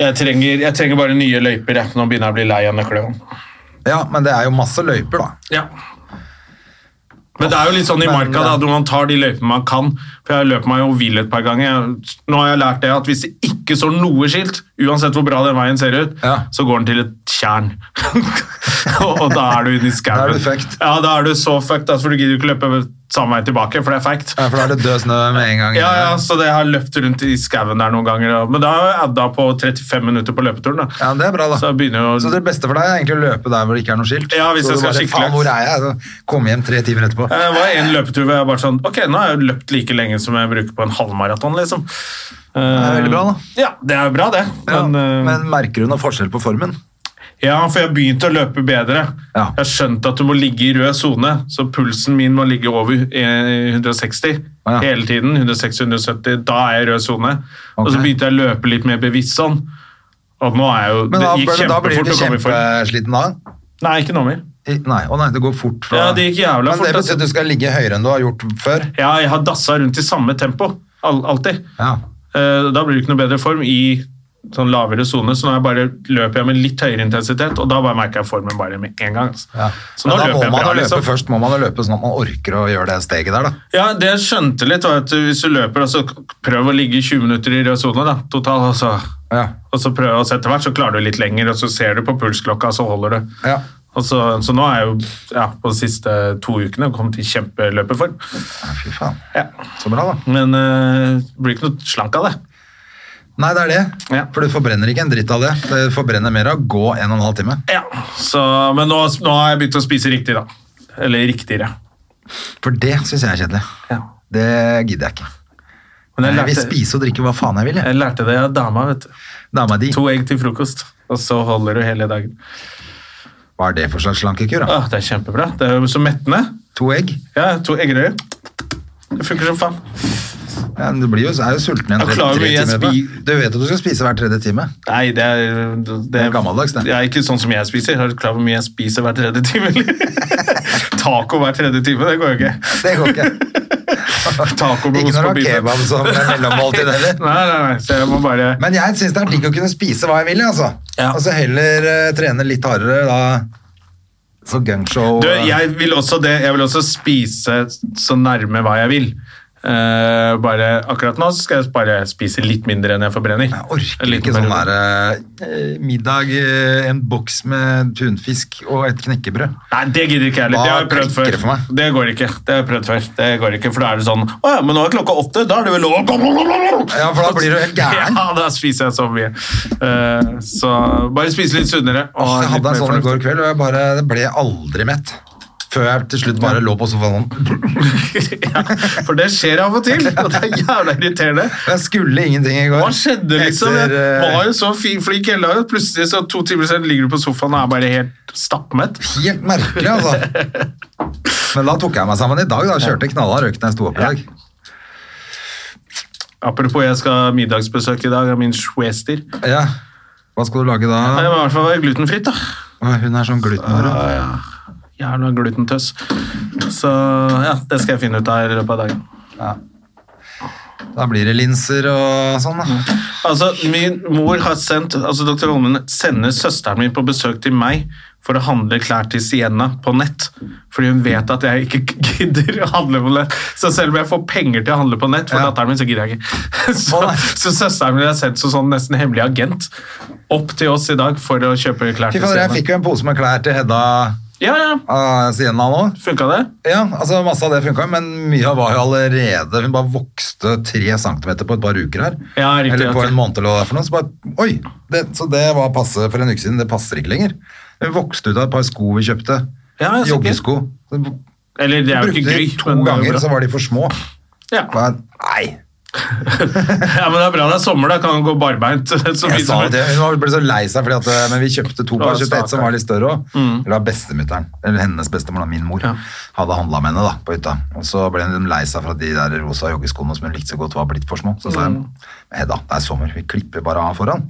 Speaker 2: Jeg trenger, jeg trenger bare nye løyper. Jeg. Nå begynner jeg å bli lei av nøkkelhånd.
Speaker 1: Ja, men det er jo masse løyper, da.
Speaker 2: Ja. Men det er jo litt sånn i
Speaker 1: Men, eh,
Speaker 2: marka da,
Speaker 1: ja.
Speaker 2: når man tar de løypene man kan. For jeg løper meg jo vill et par ganger. Jeg- Nå har jeg lært det at hvis det ikke står noe skilt, uansett hvor bra den veien ser ut,
Speaker 1: Ja.
Speaker 2: så går den til et tjern. og da er du inne i skauen.
Speaker 1: Da er du fucked.
Speaker 2: Ja, da er du så fucked, altså, for du gidder jo ikke løpe samme vei tilbake, for det er fact.
Speaker 1: Ja, for da er det død snø med en gang.
Speaker 2: Ja, ja, så det har løpt rundt i skauen der noen ganger. da. Men da har jeg adda på 35 minutter på løpeturen. da.
Speaker 1: Ja, det er bra, da.
Speaker 2: Så jeg begynner jo-
Speaker 1: Så det beste for deg er egentlig å løpe der hvor det ikke er noe skilt?
Speaker 2: Ja, hvis
Speaker 1: så du
Speaker 2: jeg skal
Speaker 1: bare,
Speaker 2: skikkelig
Speaker 1: faen, hvor er jeg? Så Komme hjem tre timer etterpå.
Speaker 2: Eh, Det var en løpetur hvor jeg bare sånn Ok, nå har jeg jo løpt like lenge som jeg bruker på en halvmaraton, liksom. Eh,
Speaker 1: Det er veldig bra, da.
Speaker 2: Ja, det er jo bra, det.
Speaker 1: Ja,
Speaker 2: Men, eh,
Speaker 1: men merker du noen forskjell på formen?
Speaker 2: ja, for jeg begynte å løpe bedre.
Speaker 1: Ja.
Speaker 2: Jeg skjønte at du må ligge i rød sone, så pulsen min må ligge over eh, 160
Speaker 1: Ja.
Speaker 2: hele tiden. 160-170, da er jeg i rød sone. Og
Speaker 1: Ok.
Speaker 2: så begynte jeg å løpe litt mer bevisst sånn. Og nå er jeg jo
Speaker 1: Men da,
Speaker 2: Det gikk
Speaker 1: da blir du
Speaker 2: kjempefort
Speaker 1: ikke
Speaker 2: å komme i form.
Speaker 1: kjempesliten da?
Speaker 2: Nei, ikke nå mer.
Speaker 1: I- Nei, å nei, det går fort fra
Speaker 2: Ja, det gikk jævla
Speaker 1: Men
Speaker 2: fort,
Speaker 1: det
Speaker 2: altså.
Speaker 1: betyr at du skal ligge høyere enn du har gjort før?
Speaker 2: Ja, jeg har dassa rundt i samme tempo. Al alltid.
Speaker 1: Ja.
Speaker 2: Eh, Da blir det ikke noe bedre form i sånn lavere sone, så nå er jeg bare, løper jeg med litt høyere intensitet, og da bare merker jeg formen bare med en gang. Altså.
Speaker 1: Ja.
Speaker 2: Så nå
Speaker 1: men da
Speaker 2: løper
Speaker 1: må
Speaker 2: jeg
Speaker 1: man
Speaker 2: bra,
Speaker 1: jo løpe
Speaker 2: liksom.
Speaker 1: først må man jo løpe sånn at man orker å gjøre det steget der, da.
Speaker 2: Ja, det jeg skjønte litt, var at hvis du løper, altså, prøv å ligge 20 minutter i rød sone, da, total, altså.
Speaker 1: Ja.
Speaker 2: Og så prøv, og så etter hvert så klarer du litt lenger, og så ser du på pulsklokka, så holder du.
Speaker 1: Ja.
Speaker 2: Og så, så nå er jeg jo, ja, på de siste to ukene kommet i kjempeløpeform.
Speaker 1: Fy faen.
Speaker 2: Ja.
Speaker 1: Så bra, da.
Speaker 2: Men eh, det blir ikke noe slank av det.
Speaker 1: Nei, det er det.
Speaker 2: Ja.
Speaker 1: For du forbrenner ikke en dritt av det. Du forbrenner mer av å gå en og en halv time.
Speaker 2: Ja, så, men nå, nå har jeg begynt å spise riktig, da. Eller riktigere.
Speaker 1: For det syns jeg er kjedelig.
Speaker 2: Ja.
Speaker 1: Det gidder jeg ikke.
Speaker 2: Men jeg
Speaker 1: Jeg vil
Speaker 2: lærte,
Speaker 1: spise og drikke hva faen jeg vil. jeg.
Speaker 2: jeg lærte det av dama, vet du.
Speaker 1: Dama di.
Speaker 2: To egg til frokost, og så holder du hele dagen.
Speaker 1: Hva er det for slags slankekur? da?
Speaker 2: Åh, det er kjempebra. Det er jo så mettende.
Speaker 1: To egg?
Speaker 2: Ja, to eggerøyer. Det funker som faen.
Speaker 1: Ja, men du blir jo, er jo sulten igjen
Speaker 2: Jeg
Speaker 1: tre,
Speaker 2: klarer
Speaker 1: tre
Speaker 2: mye, jeg
Speaker 1: timer.
Speaker 2: spi-
Speaker 1: etterpå. Du vet at du skal spise hver tredje time.
Speaker 2: Nei, det er, det,
Speaker 1: er gammeldags, det.
Speaker 2: Jeg er ikke sånn som jeg spiser. Har du klar over hvor mye jeg spiser hver tredje time? eller? Taco hver tredje time, det går jo ikke.
Speaker 1: Det går ikke.
Speaker 2: Taco med
Speaker 1: Ikke
Speaker 2: ost
Speaker 1: når du
Speaker 2: på
Speaker 1: har
Speaker 2: biffen.
Speaker 1: kebab som mellommåltid heller.
Speaker 2: Nei, nei, nei, så jeg må bare...
Speaker 1: Men jeg syns det er digg å kunne spise hva jeg vil, altså.
Speaker 2: Ja.
Speaker 1: Og så heller eh, trene litt hardere, da. Så gunshow
Speaker 2: Du,
Speaker 1: eh,
Speaker 2: jeg vil også det. Jeg vil også spise så nærme hva jeg vil. Eh, bare akkurat nå så skal jeg bare spise litt mindre enn jeg forbrenner.
Speaker 1: Jeg orker
Speaker 2: En liten
Speaker 1: ikke sånn
Speaker 2: periode.
Speaker 1: der eh, middag, eh, en boks med tunfisk og et knekkebrød.
Speaker 2: Nei, det gidder ikke jeg heller.
Speaker 1: Da
Speaker 2: Det har jeg prøvd
Speaker 1: klikker
Speaker 2: før.
Speaker 1: det for meg.
Speaker 2: Det går ikke. Det har jeg prøvd før. Det går ikke, For da er det sånn Å ja, men nå er klokka åtte. Da er det vel lov
Speaker 1: Ja, for da blir du helt gæren.
Speaker 2: Ja, da spiser jeg så mye. Eh, så bare spise litt sunnere. og
Speaker 1: Jeg
Speaker 2: litt
Speaker 1: hadde en
Speaker 2: mer
Speaker 1: sånn i
Speaker 2: fornuftig.
Speaker 1: går kveld, og jeg bare det ble aldri mett. Før jeg til slutt bare lå på sofaen sånn.
Speaker 2: ja, for det skjer av og til, og det er jævla irriterende.
Speaker 1: Jeg skulle ingenting i går.
Speaker 2: Hva skjedde, liksom?
Speaker 1: Etter, eh,
Speaker 2: Jeg var jo så fi- flink hele dagen. Plutselig så to timer senere ligger du på sofaen og er bare helt stappmett.
Speaker 1: Helt merkelig, altså. Men da tok jeg meg sammen i dag. da Kjørte knallhard økt når jeg sto opp i dag.
Speaker 2: Apropos, jeg skal ha middagsbesøk i dag av min schwester. Det
Speaker 1: Ja. Hva skal du lage
Speaker 2: må i
Speaker 1: da?
Speaker 2: hvert fall være glutenfritt, da.
Speaker 1: Å, Hun er sånn glutenmoro.
Speaker 2: Jævla glutentøss. Så ja, det skal jeg finne ut av i løpet av dagen.
Speaker 1: Da blir det linser og sånn, da.
Speaker 2: Altså, min mor har sendt, altså Dr. Holmen sender søsteren min på besøk til meg for å handle klær til Sienna på nett. Fordi hun vet at jeg ikke gidder å handle på nett. Så selv om jeg får penger til å handle på nett for
Speaker 1: Ja.
Speaker 2: datteren min, så gidder jeg ikke. Så,
Speaker 1: Å, nei.
Speaker 2: så søsteren min har sendt som sånn nesten hemmelig agent opp til oss i dag for å kjøpe klær
Speaker 1: Fy
Speaker 2: til
Speaker 1: fader, jeg
Speaker 2: Sienna.
Speaker 1: fikk jo en pose med klær til Hedda
Speaker 2: Ja, ja.
Speaker 1: uh, Sienna nå.
Speaker 2: Funka det?
Speaker 1: Ja, altså masse av det funka, men mye av var jo allerede Hun bare vokste tre centimeter på et par uker her.
Speaker 2: Ja, riktig,
Speaker 1: Eller på
Speaker 2: riktig.
Speaker 1: en måned eller hva det er for noe. Så bare Oi! Det, så det var passe for en uke siden. Det passer ikke lenger. Hun vokste ut av et par sko vi kjøpte.
Speaker 2: Ja, jeg er sikker.
Speaker 1: Joggesko. Så
Speaker 2: Eller det er jo
Speaker 1: brukte
Speaker 2: ikke
Speaker 1: de
Speaker 2: gøy.
Speaker 1: to
Speaker 2: men det er jo
Speaker 1: ganger,
Speaker 2: bra.
Speaker 1: så var de for små.
Speaker 2: ja.
Speaker 1: Bare, nei!
Speaker 2: ja, men det er bra det er sommer, da. Kan du gå barbeint. så
Speaker 1: Jeg sa
Speaker 2: mye som-
Speaker 1: det. Hun var- ble så lei seg, fordi at, eh, men vi kjøpte to par.
Speaker 2: Ja,
Speaker 1: Kjøpte ett som
Speaker 2: stakkar.
Speaker 1: var litt større òg. Eller bestemutteren, eller hennes bestemor, da, min mor,
Speaker 2: Ja.
Speaker 1: hadde handla med henne da, på hytta. Og så ble hun lei seg for at de der rosa joggeskoene som hun likte så godt, var blitt for små. Så sa
Speaker 2: Mm.
Speaker 1: hun Hedda, det er sommer, vi klipper bare av foran.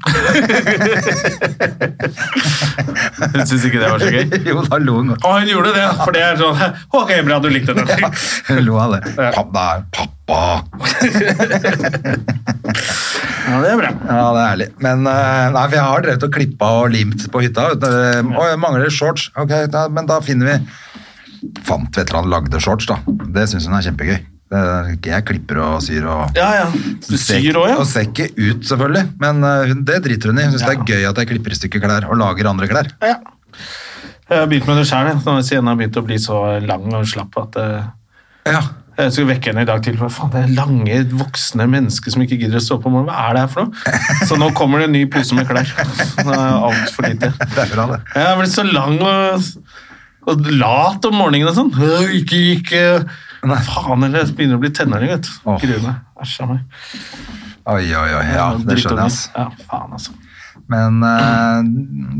Speaker 2: Hun syns ikke det var så gøy.
Speaker 1: jo, da lo hun godt.
Speaker 2: Og hun gjorde det, for det er sånn Ok, bra, du likte den.
Speaker 1: Ja, hun lo av det.
Speaker 2: Ja.
Speaker 1: Pappa, pappa!
Speaker 2: Ja, det er bra.
Speaker 1: Ja, det er ærlig. Men eh, nei, for jeg har drevet og klippa og limt på hytta. vet du. Eh, Å, jeg mangler shorts. Ok, da, men da finner vi Fant vi et eller annet lagde shorts, da. Det syns hun er kjempegøy. Det er ikke jeg klipper og syr og
Speaker 2: Ja, ja. Du
Speaker 1: ser
Speaker 2: syr
Speaker 1: ikke-
Speaker 2: òg, ja.
Speaker 1: Og ser ikke ut, selvfølgelig, men eh, hun- det driter hun i. Hun syns det er gøy at jeg klipper i stykker klær og lager andre klær.
Speaker 2: ja. Jeg har begynt med det sjøl. Siden jeg har begynt å bli så lang og slapp at eh,
Speaker 1: Ja.
Speaker 2: jeg skulle vekke henne i dag til Hva faen, det er lange, voksne mennesker som ikke gidder å stå opp om morgenen. Hva er det her for noe? Så nå kommer det en ny pose med klær. Det er alt for lite.
Speaker 1: Det er bra, det.
Speaker 2: Jeg er blitt så lang og, og lat om morgenen og sånn. Øh, Ikke, ikke
Speaker 1: Nei.
Speaker 2: Faen heller, jeg begynner å bli tenåring, vet du.
Speaker 1: Åh.
Speaker 2: Gruer meg. Æsj a meg.
Speaker 1: Oi, oi, oi. Ja, det skjønner jeg,
Speaker 2: Drittunge.
Speaker 1: ass.
Speaker 2: Ja, faen, altså.
Speaker 1: Men eh,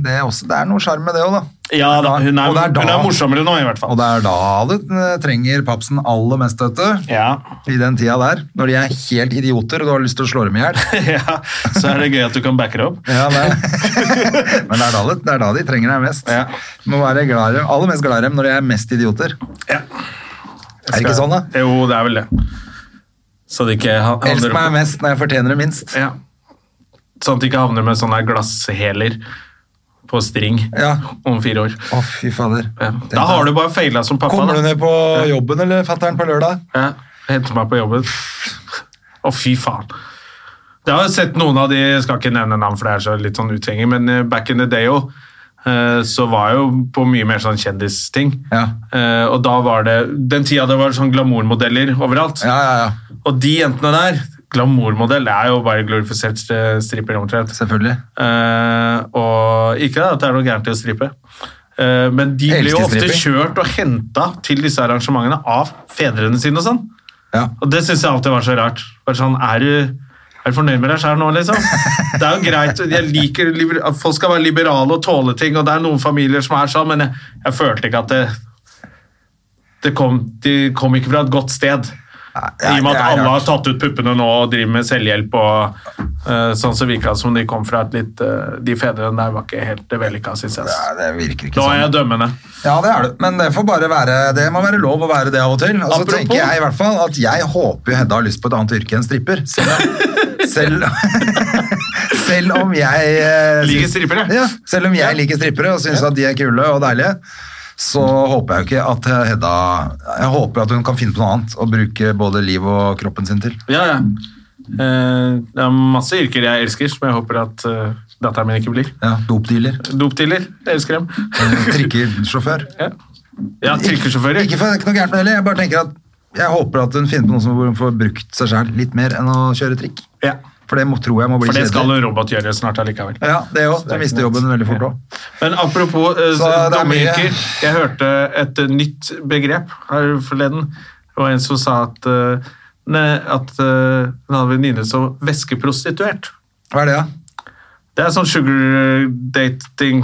Speaker 1: det, er også, det er noe sjarm med det òg, da.
Speaker 2: Ja da, hun er,
Speaker 1: Og det er da-
Speaker 2: hun er morsommere nå, i hvert
Speaker 1: Og
Speaker 2: fall.
Speaker 1: det er da du eh, trenger papsen aller mest, vet du.
Speaker 2: Ja.
Speaker 1: I den tida der. Når de er helt idioter og du har lyst til å slå dem i hjel.
Speaker 2: ja, Så er det gøy at du kan backe det opp.
Speaker 1: Ja, det er- Men det er, da, det det er da de trenger deg mest.
Speaker 2: Ja.
Speaker 1: Du må være glad i dem, aller mest glad i dem når de er mest idioter.
Speaker 2: Ja.
Speaker 1: Er det ikke sånn, da?
Speaker 2: Jo, det er vel det. Så det ikke ha-
Speaker 1: Elsk
Speaker 2: handler om-
Speaker 1: meg mest når jeg fortjener det minst.
Speaker 2: Ja. Sånn at det ikke havner med sånne glassheler på string
Speaker 1: Ja.
Speaker 2: om fire år.
Speaker 1: Å, fy fader.
Speaker 2: Ja. Da har du bare feila som pappa.
Speaker 1: Kommer
Speaker 2: da.
Speaker 1: du ned på jobben eller fatter'n på lørdag?
Speaker 2: Ja, hente meg på jobben. Å, fy faen. Jeg har jo sett noen av de, jeg skal ikke nevne navn, for det er så litt sånn uthengig, men eh, back in the day jo, eh, så var jeg jo på mye mer sånn kjendisting.
Speaker 1: Ja.
Speaker 2: Eh, Og da var det, den tida det var sånn glamourmodeller overalt.
Speaker 1: Ja, ja, ja.
Speaker 2: Og de jentene der, glamourmodell det er jo bare glorifisert eh, stripper omtrent.
Speaker 1: Selvfølgelig.
Speaker 2: Eh, og ikke at det er noe gærent i å strippe. Eh, men de ble jo
Speaker 1: Elsker
Speaker 2: ofte
Speaker 1: stripping.
Speaker 2: kjørt og henta til disse arrangementene av fedrene sine og sånn.
Speaker 1: Ja.
Speaker 2: Og det syns jeg alltid var så rart. Bare sånn, er du, er du fornøyd med deg sjøl nå, liksom? Det er jo greit, jeg liker liber- at folk skal være liberale og tåle ting, og det er noen familier som er sånn, men jeg, jeg følte ikke at det det kom, de kom ikke fra et godt sted.
Speaker 1: nei,
Speaker 2: I og med
Speaker 1: det
Speaker 2: at
Speaker 1: er
Speaker 2: alle
Speaker 1: rart.
Speaker 2: har tatt ut puppene nå og driver med selvhjelp og eh, sånn, så virka det som de kom fra et litt eh, De fedrene der var ikke helt vellykka, syns jeg.
Speaker 1: Nei, det virker ikke
Speaker 2: Nå
Speaker 1: sånn.
Speaker 2: er jeg dømmende.
Speaker 1: Ja, det er det. Men det får bare være Det må være lov å være det av og til. Og så
Speaker 2: Apropos-
Speaker 1: tenker jeg i hvert fall at jeg håper jo Hedda har lyst på et annet yrke enn stripper. Selv om, selv, selv om jeg eh,
Speaker 2: Liker
Speaker 1: syns-
Speaker 2: strippere.
Speaker 1: Ja, selv om jeg liker strippere og syns at de er kule og deilige. Så håper jeg jo ikke at eh, Hedda Jeg håper at hun kan finne på noe annet å bruke både liv og kroppen sin til.
Speaker 2: Ja, ja. Eh, det er masse yrker jeg elsker, som jeg håper at eh, datteren min ikke blir.
Speaker 1: Ja, Dopdealer,
Speaker 2: Dopdealer, jeg elsker dem.
Speaker 1: eh, trikkesjåfør.
Speaker 2: ja, ja trikkesjåfører.
Speaker 1: Ikke, for- ikke noe gærent med det heller, jeg bare tenker at jeg håper at hun finner på noe som hvor hun får brukt seg sjøl litt mer enn å kjøre trikk.
Speaker 2: Ja,
Speaker 1: For det må, tror jeg må bli
Speaker 2: for det skal
Speaker 1: kjedelig.
Speaker 2: en robot gjøre snart allikevel.
Speaker 1: Ja, det òg. Du mister jobben veldig fort òg.
Speaker 2: Men apropos eh,
Speaker 1: Så det er mye-
Speaker 2: dommeryrker, jeg hørte et eh, nytt begrep her forleden. Det var en som sa at, eh, ne- at eh, hun hadde en venninne som væskeprostituert.
Speaker 1: Hva er det, da?
Speaker 2: Det er sånn sugar dating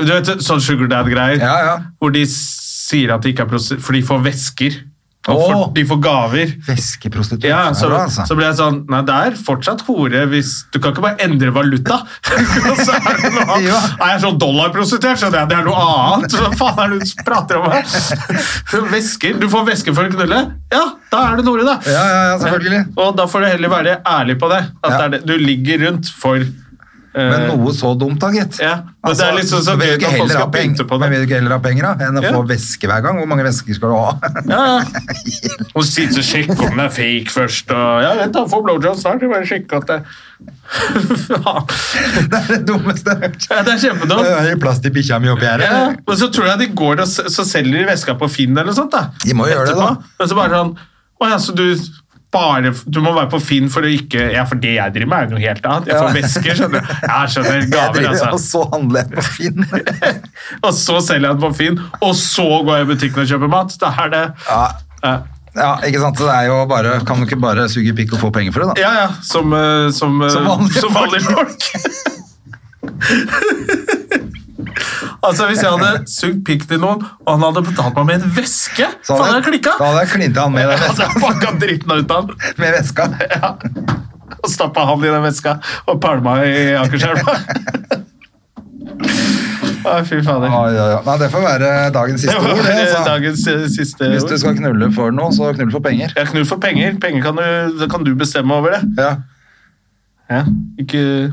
Speaker 2: Du vet sånn sugar dad-greier?
Speaker 1: Ja, ja.
Speaker 2: Hvor de sier at de ikke er prostituert, for de får væsker. Og
Speaker 1: Åh!
Speaker 2: for, de får gaver.
Speaker 1: Væskeprostitutt.
Speaker 2: Ja, så,
Speaker 1: det er bra, altså.
Speaker 2: så ble jeg sånn Nei, det er fortsatt hore hvis Du kan ikke bare endre valuta! Og så er det noe annet.
Speaker 1: Ja.
Speaker 2: Nei, jeg er sånn dollarprostituert, skjønner jeg. Det er noe annet! Hva faen er det du prater om her? Væsker. Du får væske for å knulle? Ja, da er det en hore, da.
Speaker 1: Ja, ja, ja, selvfølgelig.
Speaker 2: Og da får du heller være ærlig på det. At
Speaker 1: Ja.
Speaker 2: det er det. Du ligger rundt for
Speaker 1: Men
Speaker 2: eh,
Speaker 1: noe så dumt, da, gitt.
Speaker 2: Ja, men det er liksom så
Speaker 1: vil du
Speaker 2: gøy
Speaker 1: ikke
Speaker 2: når folk
Speaker 1: heller
Speaker 2: skal
Speaker 1: ha peng-
Speaker 2: pynte på det.
Speaker 1: Men vil du ikke heller ha penger da, enn å
Speaker 2: Ja.
Speaker 1: få væske hver gang? Hvor mange væsker skal du ha?
Speaker 2: Ja, ja. Og sitte og sjekke om det er fake først. Og, ja, vent da, få blowjob snart. Jeg bare sjekke at det Faen.
Speaker 1: det er det dummeste jeg har hørt.
Speaker 2: Ja, det er
Speaker 1: Det
Speaker 2: kjempedumt.
Speaker 1: er jo plass til bikkja mi oppi her.
Speaker 2: Ja, og så tror jeg de går og s- så selger de veska på Finn eller noe sånt. da.
Speaker 1: De må jo gjøre det, da.
Speaker 2: Men så bare sånn Å ja, så du bare, du må være på Finn for å ikke Ja, for det jeg driver med, er jo noe helt annet. Jeg får
Speaker 1: Ja.
Speaker 2: vesker, skjønner du. Jeg skjønner.
Speaker 1: Jeg
Speaker 2: Gaver,
Speaker 1: driver, og
Speaker 2: altså.
Speaker 1: så handler jeg på Finn.
Speaker 2: Og så selger jeg den på Finn, og så går jeg i butikken og kjøper mat. Da er det
Speaker 1: Ja,
Speaker 2: Ja,
Speaker 1: ja, ikke sant? Så Det er jo bare, kan du ikke bare suge pikk og få penger for det, da?
Speaker 2: ja. ja som, eh, som, eh,
Speaker 1: Som vanlige
Speaker 2: som vanlige folk. altså, hvis jeg hadde sugd pikk til noen, og han hadde betalt meg med en veske
Speaker 1: Så
Speaker 2: Faen, jeg klikka!
Speaker 1: Da hadde jeg klinta han med den
Speaker 2: Ja,
Speaker 1: veska.
Speaker 2: da pakka dritten ut av han
Speaker 1: Med veska.
Speaker 2: og stappa han i den veska og pælma i Akerselva. Å, fy fader.
Speaker 1: Oi, oi, oi. Nei, det får være dagens
Speaker 2: Det
Speaker 1: siste
Speaker 2: var
Speaker 1: ord, det.
Speaker 2: eh,
Speaker 1: Altså.
Speaker 2: dagens eh, siste
Speaker 1: Hvis du
Speaker 2: ord.
Speaker 1: skal knulle for noe, så knull for penger.
Speaker 2: Jeg knull for penger. Penger kan du, det kan du bestemme over det.
Speaker 1: Ja.
Speaker 2: Ja. Ikke